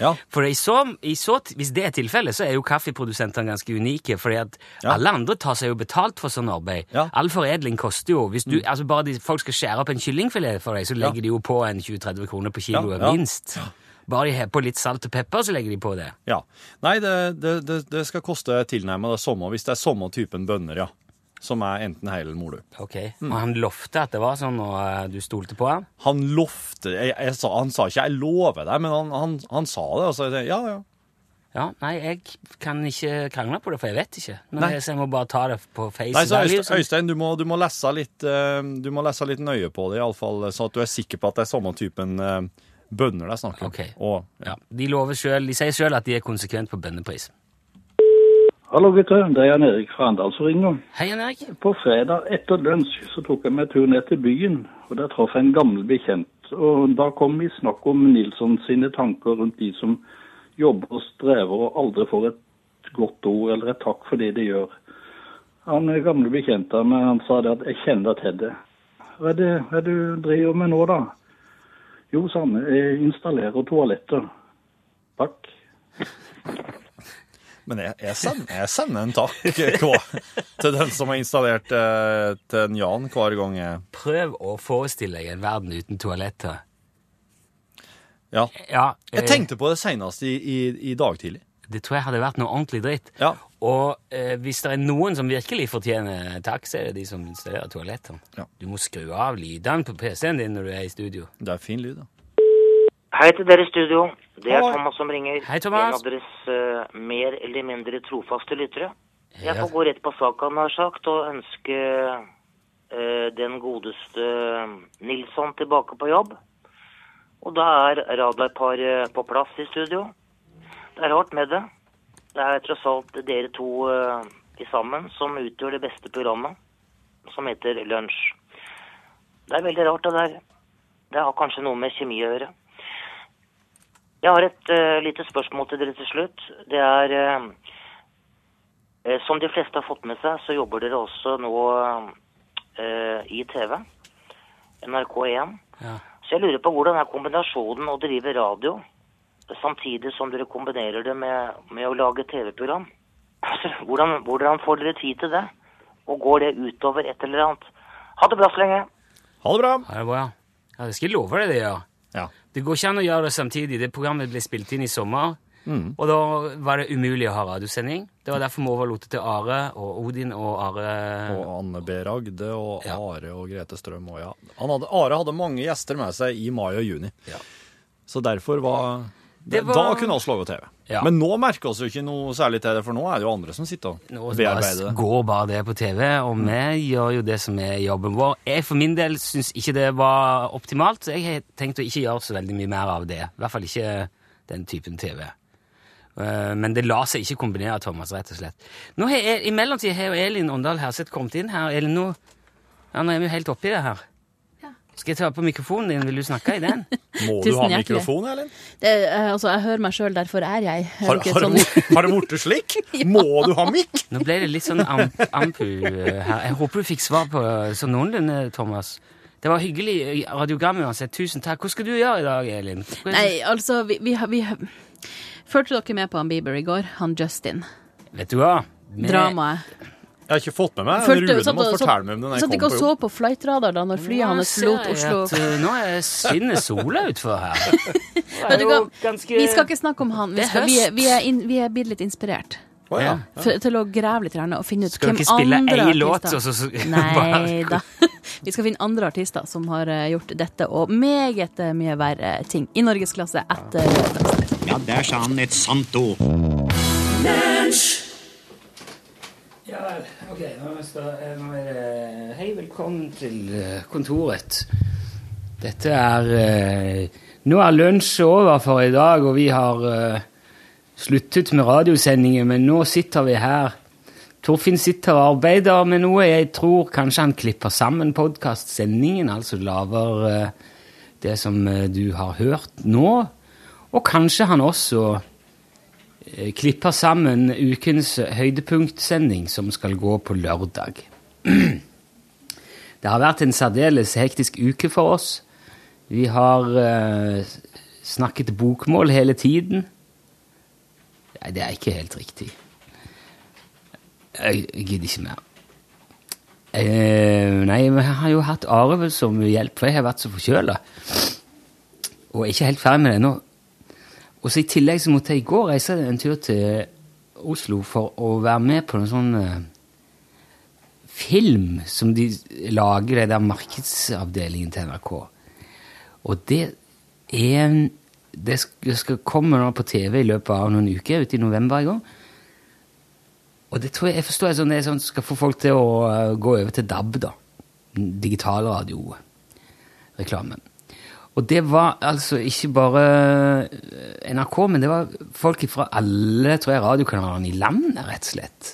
S2: Ja.
S3: For i så, i så, t- Hvis det er tilfellet, så er jo kaffeprodusentene ganske unike. fordi at
S2: Ja.
S3: alle andre tar seg jo betalt for sånn arbeid.
S2: Ja. Mm.
S3: All foredling koster jo. Hvis du, altså Bare de, folk skal skjære opp en kyllingfilet for deg, så legger de jo på en 20-30 kroner på kiloet,
S2: Ja, ja.
S3: minst. Bare de har på litt salt og pepper, så legger de på det.
S2: Ja. Nei, det, det, det, det skal koste tilnærmet det samme hvis det er samme typen bønner, ja. Som er enten heil eller molu.
S3: Ok. Og han lovte at det var sånn, og eh, du stolte på ham?
S2: Han lovte jeg, jeg sa, Han sa ikke 'jeg lover deg', men han, han, han sa det. Og så jeg tenkte, ja, ja.
S3: Ja, nei, jeg kan ikke krangle på det, for jeg vet ikke. Men
S2: Nei.
S3: jeg, så jeg må bare ta det på face
S2: Nei, så
S3: value, sånn.
S2: Øystein, Øystein du, må, du, må lese litt, eh, du må lese litt nøye på det, iallfall, sånn at du er sikker på at det er samme typen eh, bønner det er snakk om.
S3: Ok.
S2: Og,
S3: Ja, de, lover selv, de sier selv at de er konsekvent på bønnepris.
S6: Hallo gutter, det er Jan Erik fra Arendal som ringer.
S3: Hei, Jan Erik.
S6: På fredag etter lunsj så tok jeg meg tur ned til byen, og der traff jeg en gammel bekjent. Og da kom vi i snakk om Nilsson sine tanker rundt de som jobber og strever og aldri får et godt ord eller et takk for det de gjør. Han eh, gamle bekjente av meg, han sa det at jeg kjenner deg til det. Hva er det, hva er det du driver med nå da? Jo, Sanne, jeg installerer toaletter. Takk.
S2: Men jeg, jeg, sender, jeg sender en takk hva- til den som har installert eh, til en Jan hver gang jeg
S3: Prøv å forestille deg en verden uten toaletter.
S2: Ja.
S3: Ja,
S2: Jeg
S3: eh,
S2: tenkte på det senest i, i, i dag tidlig.
S3: Det tror jeg hadde vært noe ordentlig dritt.
S2: Ja.
S3: Og eh, hvis det er noen som virkelig fortjener takk, så er det de som installerer toaletter.
S2: Ja.
S3: Du må skru av lydene på PC-en din når du er i studio.
S2: Det er fin lyd, da.
S7: Hei til dere i studio. Det er
S2: Hallo.
S7: Thomas som ringer.
S3: Hei, Thomas.
S7: En av deres eh, mer eller mindre trofaste lyttere. Jeg
S3: Ja.
S7: får gå rett på sak, han har sagt, og ønske eh, den godeste eh, Nilsson tilbake på jobb. Og da er radarparet på plass i studio. Det er rart med det. Det er tross alt dere to eh, i sammen som utgjør det beste programmet, som heter Lunsj. Det er veldig rart, det der. Det har kanskje noe med kjemi å gjøre. Jeg har et eh, lite spørsmål til dere til slutt. Det er eh, eh, Som de fleste har fått med seg, så jobber dere også nå eh, i TV. NRK1.
S3: Ja.
S7: Så jeg lurer på hvordan er kombinasjonen å drive radio samtidig som dere kombinerer det med, med å lage TV-program? Altså, hvordan, hvordan får dere tid til det? Og går det utover et eller annet? Ha det bra så lenge.
S2: Ha det bra!
S3: Ja, det er bra. Ja, det skal jeg love deg det gjør.
S2: Ja.
S3: Det går ikke an å gjøre det samtidig. Det programmet ble spilt inn i sommer,
S2: Mm.
S3: og da var det umulig å ha radiosending. Det var derfor vi overlot det til Are og Odin og Are
S2: Og Anne B. Ragde og Are og Grete Strøm og ja. Han hadde, Are hadde mange gjester med seg i mai og juni.
S3: Ja.
S2: Så derfor var,
S3: Det var-
S2: Da kunne oss lage TV.
S3: Ja.
S2: Men nå merker oss jo ikke noe særlig til det, for nå er det jo andre som sitter
S3: Nå
S2: og bearbeider
S3: bare
S2: det. Mm.
S3: går bare det på TV, og vi gjør jo det som er jobben vår. Jeg for min del syns ikke det var optimalt, så jeg har tenkt å ikke gjøre så veldig mye mer av det. I hvert fall ikke den typen TV. Eh, Men det lar seg ikke kombinere, Thomas, rett og slett. Nå har jeg, I mellomtiden har jo Elin Åndal Herseth kommet inn her. Elin, nå, ja, nå er vi jo helt oppi det her. Skal jeg ta på mikrofonen din? Vil du snakke i den?
S2: Må du
S8: Tusen
S2: ha
S8: hjertelig.
S2: mikrofon, Elin?
S8: Det, eh, altså, jeg hører meg sjøl, derfor er jeg. jeg
S2: Har,
S8: er ikke
S2: har,
S8: sånn-
S2: det- har det blitt slik? Må du ha mikk?
S3: Nå ble det litt sånn am ampu eh, her. Jeg håper du fikk svar på eh, sånn noenlunde, Thomas. Det var hyggelig eh, radiogram uansett. Tusen takk. Hva skal du gjøre i dag, Elin? Hva-
S8: Nei, altså, vi, vi, har- vi har- Fulgte dere med på han Bieber i går? Han Justin.
S3: Vet du hva? Vi-
S8: Dramaet.
S2: Jeg har ikke fått med meg.
S8: Fulgte-
S2: Rune
S8: satt
S2: må
S8: og-
S2: fortelle meg om den.
S8: satt
S2: Jeg
S8: ikke
S2: kom
S8: og
S2: på
S8: så
S2: jobb.
S8: på flightradar da når flyet
S3: Nå
S8: hans
S3: ser
S8: lot
S3: jeg
S8: Oslo.
S3: at, eh, Nå er- skinner sola utfor her.
S8: Vet du hva?
S3: ganske-
S8: Vi skal ikke snakke om han. Vi,
S3: Det er
S8: skal, vi, er,
S3: høst.
S8: vi, er, inn, vi er blitt litt inspirert.
S2: Å, ja.
S8: For, til å grave litt gjerne, og finne ut
S3: Skal
S8: hvem
S3: du ikke spille
S8: andre
S3: ei låt,
S8: artister-
S3: og så- så-
S8: Nei da. Vi skal finne andre artister som har eh, gjort dette og meget eh, mye verre ting i norgesklasse etter
S9: Ja, der sa han et sant ord.
S3: ok. eh, Hei, velkommen til eh, kontoret. Dette er eh, Nå er lunsj over for i dag, og vi har eh, sluttet med radiosendinger, men nå sitter vi her. Torfinn sitter og arbeider med noe. Jeg tror kanskje han klipper sammen podkastsendingen, altså lager eh, det som eh, du har hørt nå. Og kanskje han også eh, klipper sammen ukens høydepunktsending, som skal gå på lørdag. Det har vært en særdeles hektisk uke for oss. Vi har eh, snakket bokmål hele tiden. Nei, det er ikke helt riktig. Jeg, jeg gidder ikke mer. Eh, nei, men jeg har jo hatt Are som hjelp, for jeg har vært så forkjøla. Og er ikke helt ferdig med det ennå. Og så i tillegg så måtte jeg i går reise en tur til Oslo for å være med på en sånn eh, film som de lager i den der markedsavdelingen til NRK. Og det er en Det sk- det skal komme nå på TV i løpet av noen uker, ute i november en gang. Og det tror jeg, jeg forstår jeg sånn, det er sånn skal få folk til å eh, gå over til DAB, da. Digitalradioreklamen. Og det var altså ikke bare eh, NRK, men det var folk fra alle tror jeg, radiokanalene i landet, rett og slett.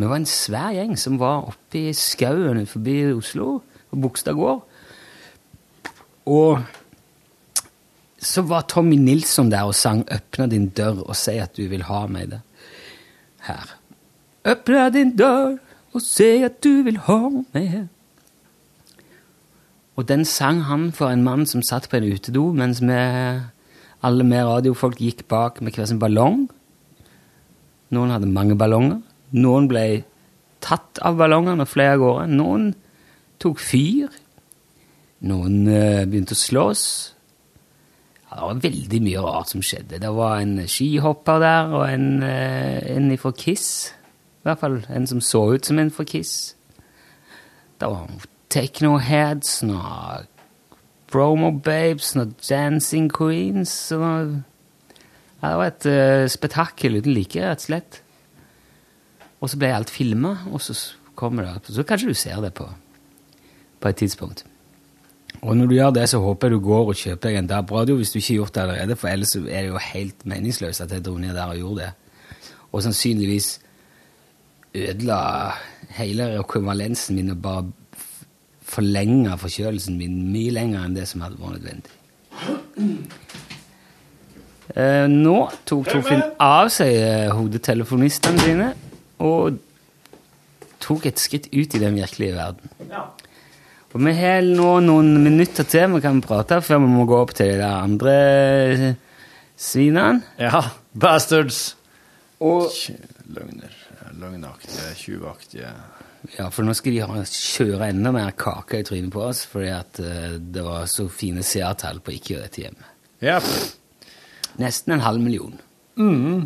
S3: Vi var en svær gjeng som var oppe i skauen forbi Oslo, på Bogstad gård. Og så var Tommy Nilsson der og sang 'Øpna din dør og si at du vil ha meg det'. Her. Øpna din dør og si at du vil ha meg her. Og den sang han for en mann som satt på en utedo, mens vi, alle vi radiofolk gikk bak med hver sin ballong. Noen hadde mange ballonger. Noen ble tatt av ballongene og fløy av gårde. Noen tok fyr. Noen eh, begynte å slåss. Ja, Det var veldig mye rart som skjedde. Det var en skihopper der, og en, eh, en ifra Kiss. I hvert fall en som så ut som en fra Kiss. Det var techno-heads og promo-babes og dancing queens. Og ja, det var et eh, spetakkel uten like, rett og slett. Og så ble alt filma, og så s- kommer det opp. Så kanskje du ser det på, på et tidspunkt. Og når du gjør det, så håper jeg du går og kjøper deg en DAB-radio hvis du ikke har gjort det allerede, for ellers så er det jo helt meningsløst at jeg dro ned der og gjorde det. Og sannsynligvis ødela hele rekonvalensen min og bare f- forlenga forkjølelsen min mye lenger enn det som hadde vært nødvendig. Eh, nå tok Torfinn av seg eh, hodetelefonistene sine og tok et skritt ut i den virkelige verden. Og vi har nå noen minutter til vi kan prate før vi må gå opp til de der andre eh, svinene.
S2: Ja, bastards!
S3: Og
S2: Løgner. Løgnaktige, tjuvaktige
S3: Ja, for nå skal de ha, kjøre enda mer kake i trynet på oss, fordi at eh, det var så fine seertall på Ikke gjør dette hjemme.
S2: Ja,
S3: Nesten en halv million.
S2: Mm-hmm.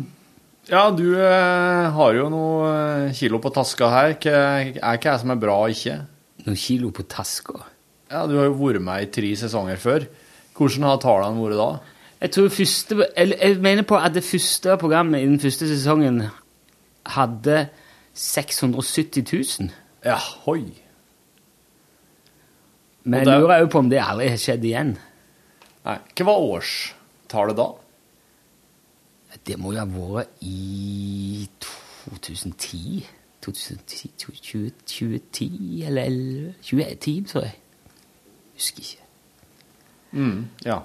S2: ja du eh, har jo noe eh, kilo på taska her. Ikke- Er ikke jeg som er bra og ikke?
S3: Noen kilo på taska.
S2: Ja, Du har jo vært med i tre sesonger før. Hvordan har tallene vært da?
S3: Jeg tror første, eller jeg mener på at det første programmet i den første sesongen hadde 670 000.
S2: Ja, hoi.
S3: Men
S2: Og det-
S3: jeg lurer jo på om det aldri har skjedd igjen.
S2: Nei, Hva var årstallet da?
S3: Det må jo ha vært i 2010? 2010, 2010, 2010 eller 11, 2010, tror jeg. Husker ikke.
S2: Ja.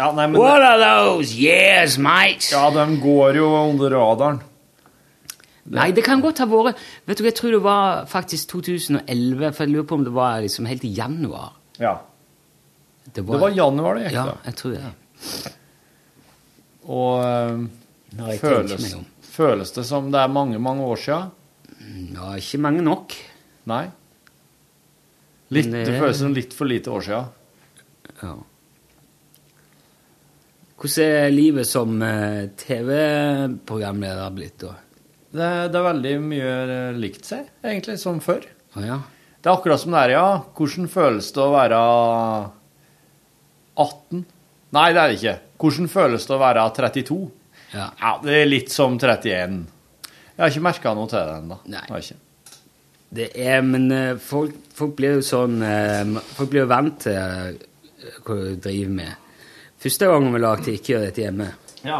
S2: Ja, nei, men
S3: What are those years, mate?
S2: Ja, de går jo under radaren.
S3: Nei, det kan godt ha vært Vet du, hva, Jeg tror det var faktisk 2011, for jeg lurer på om det var liksom helt i januar.
S2: Ja. Det var januar det gikk,
S3: Ja,
S2: da.
S3: jeg tror det.
S2: Og
S3: Når
S2: eh,
S3: jeg tenker
S2: føles,
S3: meg om.
S2: føles det som det er mange, mange år sia?
S3: Ja, ikke mange nok.
S2: Nei? Litt,
S3: Nei.
S2: det føles som litt for lite år sia.
S3: Ja. Hvordan er livet som eh, TV-programleder blitt, da?
S2: Det, det er veldig mye eh, likt seg, egentlig, som før.
S3: Å ja.
S2: Det er akkurat som det er, ja. Hvordan føles det å være 18? Nei, det er det ikke. Hvordan føles det å være 32?
S3: ja.
S2: Ja, det er litt som 31. Jeg har ikke merka noe til det ennå.
S3: Nei.
S2: Jeg har ikke.
S3: Det er, men eh, folk, folk blir jo sånn eh, Folk blir jo vant til eh, hva du driver med. Første gangen vi lagde Ikke gjør dette hjemme,
S2: Ja.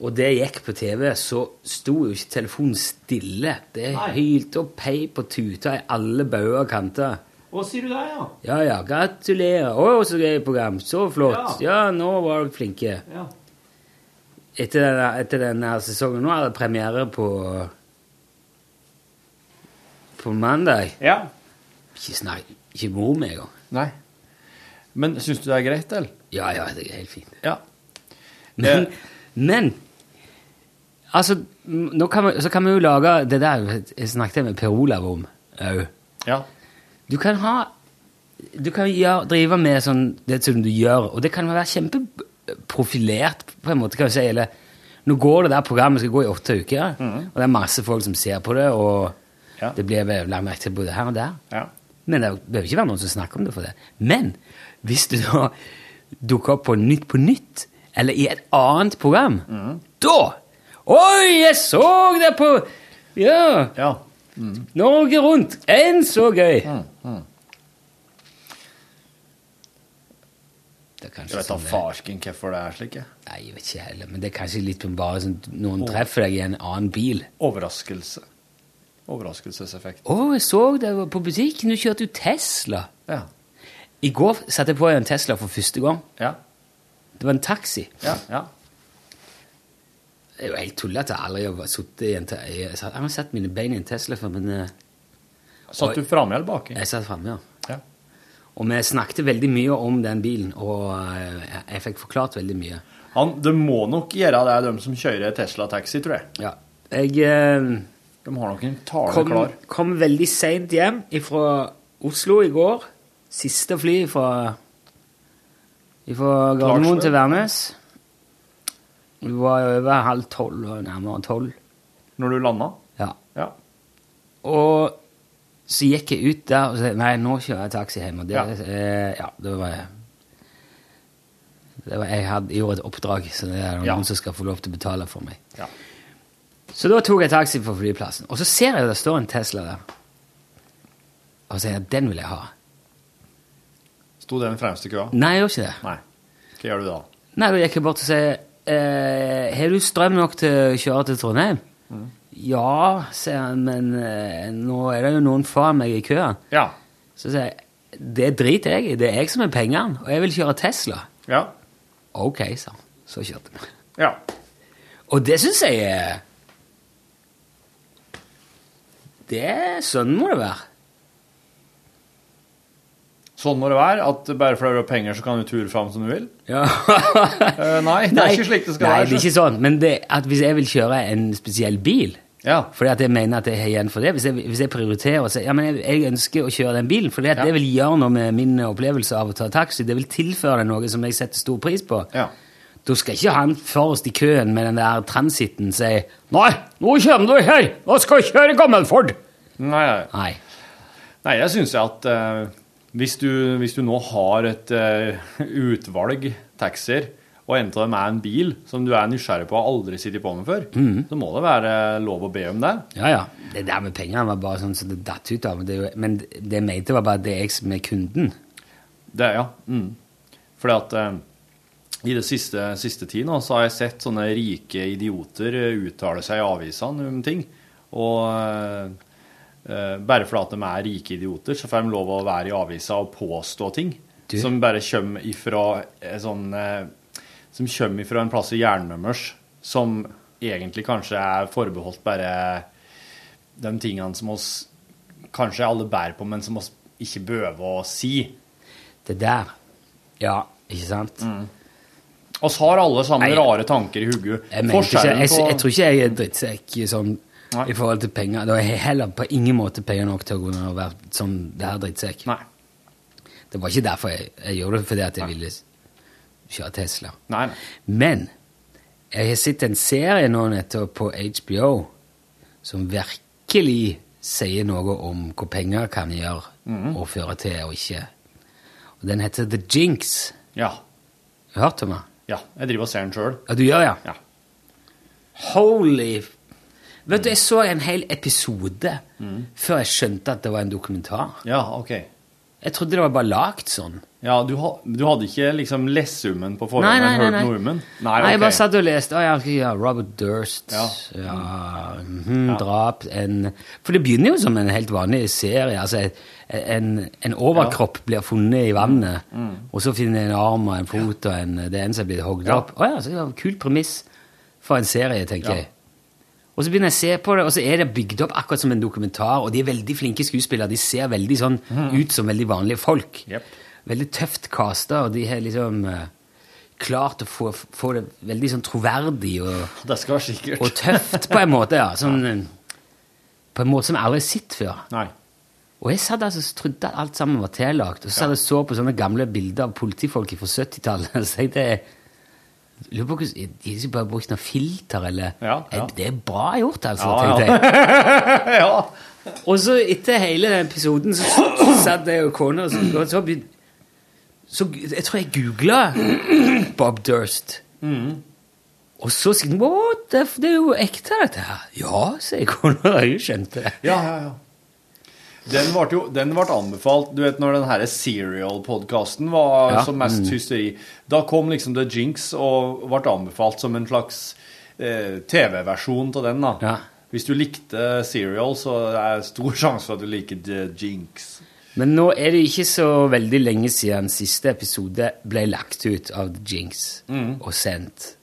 S3: og det gikk på TV, så sto jo ikke telefonen stille. Det hylte og peip og tuta i alle bauger og kanter.
S2: Hva sier du der, ja?
S3: Ja ja, gratulerer. Å, så gøy program. Så flott. Ja, nå var dere flinke.
S2: Ja.
S3: Etter denne, etter denne sesongen nå er det premiere på På mandag.
S2: ja.
S3: Ikke snakk Ikke mor med engang.
S2: Nei. Men syns du det er greit, eller?
S3: Ja, ja, det er helt fint.
S2: Ja.
S3: Men,
S2: Eh.
S3: men Altså, m- nå kan vi, så kan vi jo lage Det der jeg snakket jeg med Per Olav om au.
S2: Ja.
S3: Du kan ha Du kan gjøre, drive med sånn det som du gjør, og det kan være kjempeprofilert, på en måte, kan du si. Eller nå går det der programmet skal gå i åtte uker, og det er masse folk som ser på det, og
S2: Mhm. Ja.
S3: det blir vel lagt merke til både her og der.
S2: Ja.
S3: Men det behøver ikke være noen som snakker om det for det. Men hvis du da dukker opp på Nytt på Nytt, eller i et annet program,
S2: Mm.
S3: da Oi, jeg så det på Ja!
S2: ja.
S3: Norge Rundt! Enn så gøy!
S2: Mm,
S3: Det er
S2: Jeg
S3: kanskje
S2: vet da
S3: sånn det
S2: farsken hvorfor det er slik. jeg.
S3: Nei, jeg vet ikke heller, men det er kanskje litt som bare sånn noen treffer deg i en annen bil.
S2: Overraskelse. Overraskelseseffekt.
S3: Å, jeg så deg på butikken, du kjørte jo Tesla.
S2: Ja.
S3: I går satte jeg på en Tesla for første gang.
S2: Ja.
S3: Det var en taxi.
S2: Ja. ja.
S3: Det er jo helt tullete at jeg aldri har sittet i en te- Jeg satt- jeg har satt mine bein i en Tesla før, men eh,
S2: Satt du framme eller baki?
S3: jeg satt framme, ja.
S2: Ja.
S3: Og vi snakket veldig mye om den bilen, og eh, jeg fikk forklart veldig mye.
S2: Han, det må nok gjøre det, de som kjører Tesla-taxi, tror jeg.
S3: Ja. Jeg eh,
S2: De har nok en tale
S3: kom,
S2: klar.
S3: kom veldig seint hjem fra Oslo i går. Siste fly fra, Gardermoen til Værnes. Det var over halv tolv, og nærmere tolv.
S2: Når du landa?
S3: Ja.
S2: Ja.
S3: Og så gikk jeg ut der og sa nei, nå kjører jeg taxi hjem. Og det,
S2: Ja.
S3: eh, ja, det var, det var Jeg hadde gjorde et oppdrag, så det er noen
S2: Ja.
S3: som skal få lov til å betale for meg.
S2: Ja.
S3: Så da tok jeg taxi fra flyplassen, og så ser jeg det står en Tesla der. Og så sier jeg den vil jeg ha.
S2: Sto den fremste i køa?
S3: Nei, jeg gjør ikke det.
S2: Nei. Hva gjør du da?
S3: Nei, da gikk jeg bort og sa eh, Har du strøm nok til å kjøre til Trondheim?
S2: Mm.
S3: Ja, sier han, men eh, nå er det jo noen foran meg i køen.
S2: Ja.
S3: Så sier jeg, det driter jeg i, det er jeg som er pengene, og jeg vil kjøre Tesla.
S2: Ja.
S3: Ok, sa han. Så kjørte vi.
S2: Ja.
S3: Og det syns jeg er Det Sånn må det være.
S2: Sånn må det være, at bare fordi du har penger, så kan du ture fram som du vil?
S3: Ja.
S2: Eh, nei, det er ikke slik det skal
S3: nei,
S2: være,
S3: Nei, det er
S2: så.
S3: ikke sånn. Men det, at hvis jeg vil kjøre en spesiell bil
S2: Ja.
S3: fordi at jeg mener at jeg har igjen for det. Hvis jeg, hvis jeg prioriterer og sier ja, men jeg, jeg ønsker å kjøre den bilen, fordi at
S2: Ja.
S3: det vil gjøre noe med min opplevelse av å ta taxi, det vil tilføre deg noe som jeg setter stor pris på,
S2: Ja.
S3: Da skal ikke han forrest i køen med den der transiten si Nei, nå kommer du her! Nå skal jeg kjøre Gammelford!
S2: Nei, nei.
S3: Nei.
S2: Nei, jeg syns at eh, hvis, du, hvis du nå har et eh, utvalg taxier, og en av dem er en bil som du er nysgjerrig på og har aldri sittet på med før, så må det være lov å be om det.
S3: Ja, ja. Det der med pengene var bare sånn som det datt ut av. men Det, er jo- men det jeg mente, var bare at det er jeg som er kunden.
S2: Det, ja. Mm. Fordi at eh, i det siste, siste tid nå, så har jeg sett sånne rike idioter eh, uttale seg i avisene om ting. Og eh, eh, bare fordi at de er rike idioter, så får de lov å være i avisa og påstå ting.
S3: Du.
S2: Som bare kommer ifra eh, sånn eh, Som kommer ifra en plass i hjernen deres som egentlig kanskje er forbeholdt bare de tingene som oss kanskje alle bærer på, men som oss ikke behøver å si.
S3: Det der. Ja, ikke sant?
S2: Oss har alle sammen
S3: Nei,
S2: rare tanker i hodet.
S3: Jeg, mente ikke, jeg, jeg,
S2: på-
S3: tror ikke jeg er drittsekk sånn
S2: Nei.
S3: i forhold til penger. Da er jeg heller på ingen måte penger nok til å kunne være sånn det her drittsekk.
S2: Nei.
S3: Det var ikke derfor jeg, jeg gjorde det, fordi at jeg ville kjøre Tesla.
S2: Nei, nei.
S3: Men jeg har sett en serie nå nettopp på HBO som virkelig sier noe om hva penger kan gjøre
S2: Mhm.
S3: og føre til og ikke. Og Den heter The Jinx.
S2: Ja.
S3: Har du hørt om den?
S2: ja. Jeg driver og ser den sjøl.
S3: Ja, du gjør, ja?
S2: Ja.
S3: Holy f- Vet du, jeg så en hel episode før jeg skjønte at det var en dokumentar.
S2: Ja, OK.
S3: Jeg trodde det var bare lagt sånn.
S2: Ja, du, ha, du hadde ikke liksom lest summen på forhånd?
S3: Nei, nei, nei.
S2: men
S3: nei.
S2: hørt nordmenn?
S3: nei,
S2: ok.
S3: jeg bare satt og leste. Å, ja, ok, ja, Robert Durst. Ja.
S2: Ja.
S3: mhm, Drap en For det begynner jo som en helt vanlig serie. Altså, en, en overkropp blir funnet i vannet, og så finner en arm og en fot og en, det er en som blir hogd opp. Å ja, så det var en kul premiss for en serie, tenker
S2: Ja.
S3: jeg. Og så begynner jeg å se på det, og så er det bygd opp akkurat som en dokumentar, og de er veldig flinke skuespillere. De ser veldig sånn ut som veldig vanlige folk.
S2: Mhm. Jep.
S3: Veldig tøft casta, og de har liksom eh, klart å få, få det veldig sånn troverdig og,
S2: Det skal være sikkert.
S3: og tøft på en måte, ja. Sånn, eh, på en måte som jeg aldri har sett før.
S2: Nei.
S3: Og jeg satt altså og trodde at alt sammen var tillagt, og så satt jeg og så på sånne gamle bilder av politifolk fra 70-tallet, og så tenkte jeg Lurer på hvordan De har ikke bare brukt noe filter, eller
S2: Ja, ja.
S3: Det er bra gjort, altså,
S2: Ja,
S3: tenkte jeg.
S2: ja.
S3: Og så etter hele den episoden så satt jeg og kona og så, og så, begyn- så gu- Jeg tror jeg googla Bob Durst. Og så sier hun What? Det, det er jo ekte, dette her. Ja, sier kona. Jeg har jo skjønt det.
S2: Ja, ja, ja. Den ble, jo, den ble anbefalt Du vet når den her Serial-podkasten var
S3: Ja. Mm.
S2: som mest hysteri. Da kom liksom The Jinx og ble anbefalt som en slags eh, TV-versjon av den. da
S3: Ja.
S2: Hvis du likte Serial, så er det stor sjanse for at du liker The Jinx.
S3: Men nå er det ikke så veldig lenge siden siste episode ble lagt ut av The Jinx og sendt.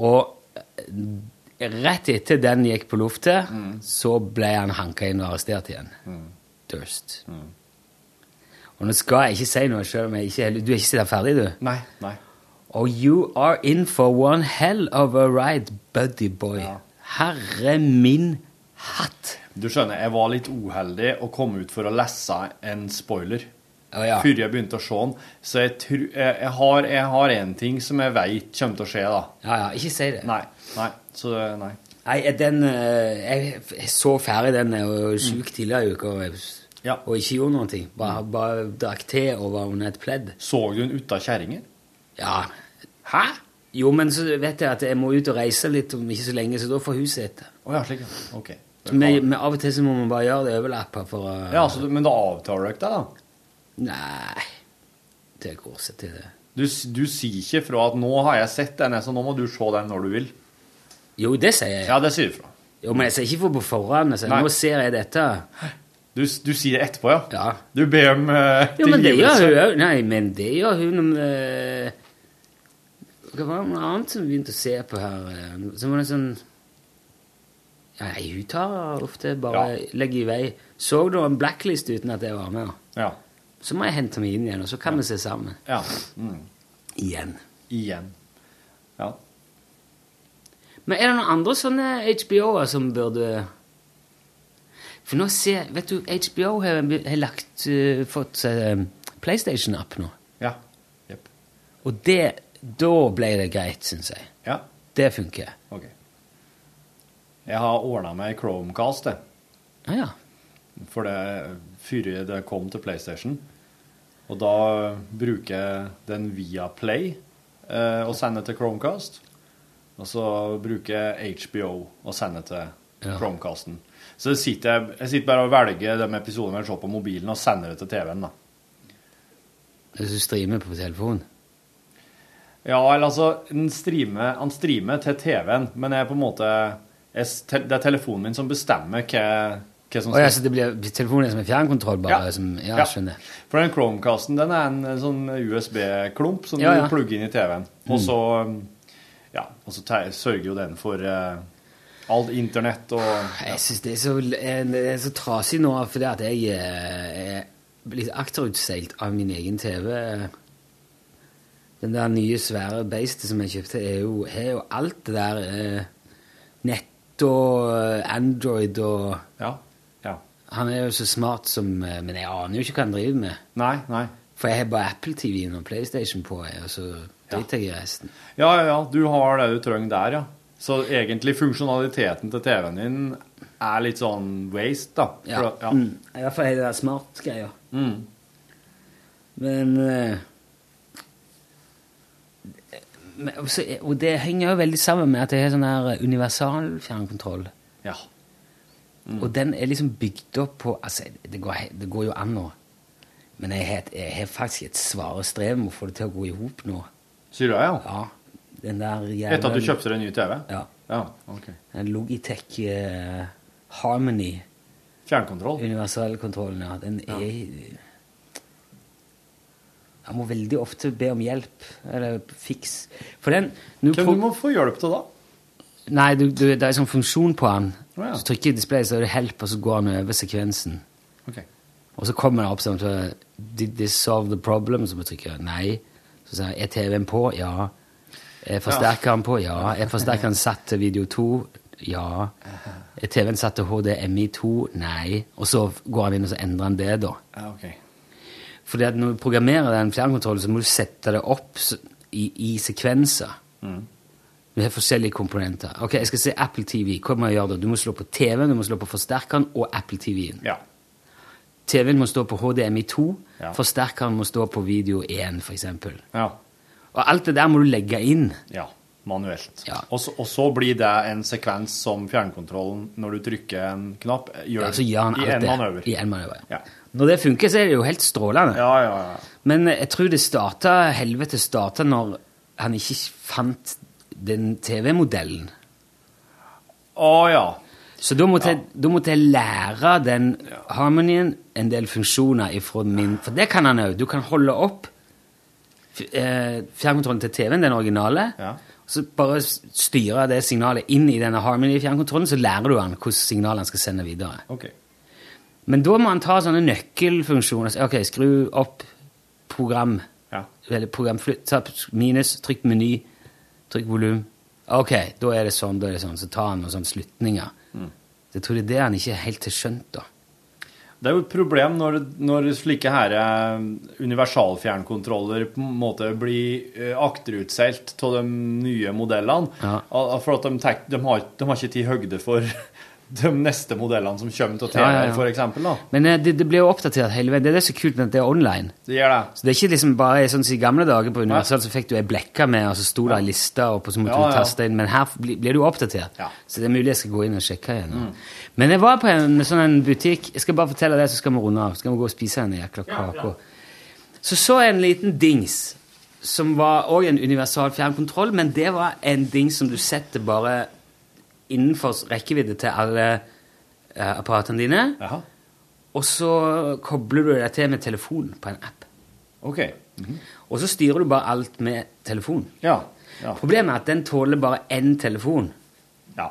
S3: Og eh, rett etter den gikk på luftet, så ble han hanka inn og arrestert igjen. Durst. Og nå skal jeg ikke si noe selv om jeg ikke heller Du er ikke der ferdig, du?
S2: Nei, nei.
S3: Oh, you are in for one hell of a ride, buddy boy. Herre min hatt!
S2: Du skjønner, jeg var litt uheldig og kom ut for å lese en spoiler.
S3: Å ja.
S2: Før jeg begynte å se den. Så jeg, tru, jeg, jeg har- jeg har én ting som jeg veit kommer til å skje, da.
S3: Ja, ja, ikke si det.
S2: Nei. Nei. Så nei.
S3: Nei, eh, den eh, Jeg jeg så ferdig den jeg var sjuk tidligere i uka og, jeg-
S2: Mm. Ja. Mm.
S3: og ikke gjorde noen ting. Bare, bare drakk te og var under et pledd.
S2: Så du den ut av kjerringa?
S3: Ja. Hæ? Jo, men så vet jeg at jeg må ut og reise litt om ikke så lenge, så da får huset etter.
S2: Å ja, slik, ja. OK.
S3: Så vi- vi- av og til så må man bare gjøre det overlappa for å
S2: Ja, altså, Men da avtaler dere deg, da?
S3: Nei Det går seg til det.
S2: Du, s- du sier ikke fra at 'nå har jeg sett den, så nå må du se den når du vil'?
S3: Jo, det sier jeg.
S2: Ja, det sier du fra.
S3: Jo, men jeg sier ikke for på forhånd. Jeg sier, altså.
S2: Nei.
S3: nå ser jeg dette.
S2: Du, s- du sier det etterpå, ja?
S3: Ja.
S2: Du ber om eh,
S3: Jo, men det gjør hun
S2: tilgivelse?
S3: òg. Nei, men det gjør hun om eh, Hva var det noe annet som vi begynte å se på her? eh, Som var det sånn Ja, nei, hun tar ofte bare legger i vei. Så du en blacklist uten at jeg var med?
S2: Ja.
S3: Så må jeg hente meg inn igjen, og så kan vi se sammen.
S2: ja. Mm.
S3: Igjen.
S2: Igjen. Ja.
S3: Men er det noen andre sånne HBO-er som burde For nå ser Vet du, HBO har, har lagt eh, fått seg eh, PlayStation-app nå.
S2: Ja. Jepp.
S3: Og det Da ble det greit, syns jeg.
S2: Ja.
S3: Det funker.
S2: Ok. Jeg har ordna meg Chromecast, jeg.
S3: Ja, ja.
S2: For det før det kom til PlayStation. Og da bruker jeg den via Play eh, og sender til Chromecast. Og så bruker jeg HBO og sender til
S3: Ja.
S2: Chromecasten. Så sitter jeg, jeg sitter bare og velger de episodene jeg vil se på mobilen, og sender det til TV-en. da.
S3: Hvis du streamer på telefon.
S2: Ja, eller altså, den streamer, han streamer til TV-en, men jeg er på en måte jeg, s- te- Det er telefonen min som bestemmer hva, hva som
S3: Å ja, så det blir telefonen er som en fjernkontroll, bare?
S2: Ja.
S3: Som, ja,
S2: Ja.
S3: skjønner.
S2: For den Chromecasten den er en eh, sånn USB-klump som
S3: Ja, Mm. ja.
S2: du plugger inn i TV-en. Og så um, ja, og så te- sørger jo den for eh, alt internett og ja.
S3: Jeg syns det er så, eh, det er så trasig nå, fordi at jeg eh, er litt akterutseilt av min egen TV. Den der nye svære beistet som jeg kjøpte, er jo, har jo alt det der eh, nett og eh, Android og
S2: ja. ja.
S3: Han er jo så smart som eh, Men jeg aner jo ikke hva han driver med.
S2: Nei, nei.
S3: For jeg har bare Apple TV-en og PlayStation på, jeg, og så driter jeg i resten.
S2: Ja, ja, ja, du har det du trenger der, ja. Så egentlig funksjonaliteten til TV-en din er litt sånn waste, da.
S3: Ja.
S2: For, ja.
S3: Mm. I hvert fall er det der smart-greia.
S2: Mm.
S3: Men eh, men også, Og det henger jo veldig sammen med at jeg har sånn her universal fjernkontroll.
S2: ja. Mm.
S3: Og den er liksom bygd opp på Altså, det går, he- det går jo an nå. Men jeg har et- jeg har faktisk et svare strev med å få det til å gå i hop nå.
S2: Sier du det, ja?
S3: Ja, den der jævla
S2: Etter at du kjøpte deg en ny TV?
S3: Ja.
S2: ja ok.
S3: Den Logitech eh, Harmony, Eh,
S2: Fjernkontroll?
S3: universellkontrollen, ja, den er Jeg må veldig ofte be om hjelp, eller fiks. For den nå
S2: Hvem
S3: pro-
S2: du må få hjelp til da?
S3: Nei, du, du, det er en sånn funksjon på den.
S2: Å, ja.
S3: Du trykker i displayet, så er det help, og så går den over sekvensen.
S2: Ok.
S3: Og så kommer det opp sånn så, Did this solve the problem? Så må jeg trykke nei. Så sier jeg, er TV-en på? Ja. Er forsterkeren på? Ja. Er forsterkeren satt til video 2? Ja. Er TV-en satt til HDMI2? Nei. Og så går han inn og så endrer han det, da.
S2: Ja, ok.
S3: Fordi at når du programmerer den fjernkontrollen, så må du sette det opp s- i, i sekvenser.
S2: Mm.
S3: Du har forskjellige komponenter. Ok, jeg skal se Apple TV. Hva må jeg gjøre da? Du må slå på TV-en, du må slå på forsterkeren og Apple TV-en.
S2: Ja.
S3: TV-en må stå på HDMI2,
S2: Ja.
S3: forsterkeren må stå på video 1, for eksempel.
S2: Ja.
S3: Og alt det der må du legge inn.
S2: ja. Manuelt.
S3: Ja.
S2: Og, så, og så blir det en sekvens som fjernkontrollen, når du trykker en knapp, gjør
S3: Ja, så gjør han
S2: i
S3: alt
S2: en
S3: det.
S2: manøver.
S3: I en manøver.
S2: Ja.
S3: Når det funker, så er det jo helt strålende.
S2: Ja, ja, ja.
S3: Men eh, jeg tror det starta, helvete starta når han ikke fant den TV-modellen.
S2: Å ja.
S3: Så da måtte, jeg, da måtte jeg lære den harmonien en del funksjoner ifra min For det kan han òg. Du kan holde opp f- eh, fjernkontrollen til TV-en, den originale.
S2: Ja.
S3: og Så bare s- styre det signalet inn i denne harmony-fjernkontrollen, så lærer du han hvordan signalet han skal sende videre.
S2: Ok.
S3: Men da må han ta sånne nøkkelfunksjoner. Ok, skru opp program. Eller programflytt. Ta minus, trykk meny, trykk volum. Ok, da er det sånn, da er det sånn. Så tar han noen sånne slutninger.
S2: Mm.
S3: Jeg tror det er det han ikke helt har skjønt, da.
S2: Det er jo et problem når, når slike her eh, universalfjernkontroller på en måte blir eh, akterutseilt av de nye modellene.
S3: Ja.
S2: Al- al- For at de, tek, de, har, de har ikke tid høgde for de neste modellene som kommer til
S3: Ja, ja,
S2: TV-er,
S3: ja.
S2: for eksempel da.
S3: Men eh, det, det blir jo oppdatert hele veien. Det er det som er kult med at det er online.
S2: Det gjør det.
S3: Så det er ikke liksom bare sånn som i gamle dager på Universal, så fikk du ei blekke med, og så sto det ei liste, og så måtte
S2: Ja,
S3: du
S2: ja.
S3: taste inn. Men her blir, blir du oppdatert. Så det er mulig jeg skal gå inn og sjekke igjen.
S2: Mm.
S3: Men jeg var på en sånn en butikk Jeg skal bare fortelle det, så skal vi runde av. Så skal vi gå og spise en jækla
S10: Ja,
S3: kake. Så så jeg en liten dings, som var òg en universal fjernkontroll, men det var en dings som du setter bare innenfor rekkevidde til alle eh, apparatene dine. Og så kobler du deg til med telefon på en app.
S2: Ok.
S3: Og så styrer du bare alt med telefon.
S2: ja.
S3: Problemet er at den tåler bare én telefon.
S2: Ja.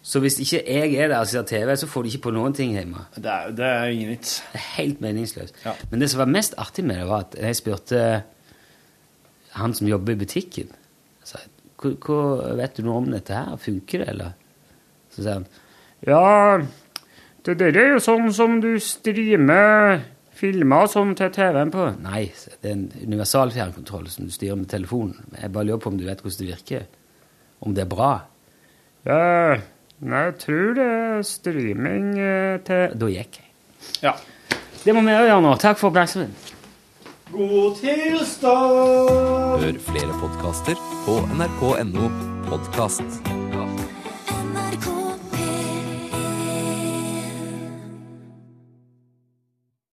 S3: Så hvis ikke jeg er der og ser TV, så får du ikke på noen ting hjemme.
S2: Det er, det er ingen vits.
S3: Det er helt meningsløst. Men det som var mest artig med det, var at jeg spurte han som jobber i butikken Jeg sa, hva, hva vet du noe om dette her? Funker det, eller? Så sier han
S11: Ja, det der er jo sånn som du streamer filmer sånn til TV-en på.
S3: Nei, det er en universal fjernkontroll som du styrer med telefonen. Men Jeg bare lurer på om du vet hvordan det virker. Om det er bra.
S11: Ja, nei, jeg tror det er streaming eh, til
S3: Da gikk jeg.
S2: Ja.
S3: Det må vi òg gjøre nå. Takk for oppmerksomheten.
S2: God tilstand!
S12: Hør flere podkaster på nrk.no podkast.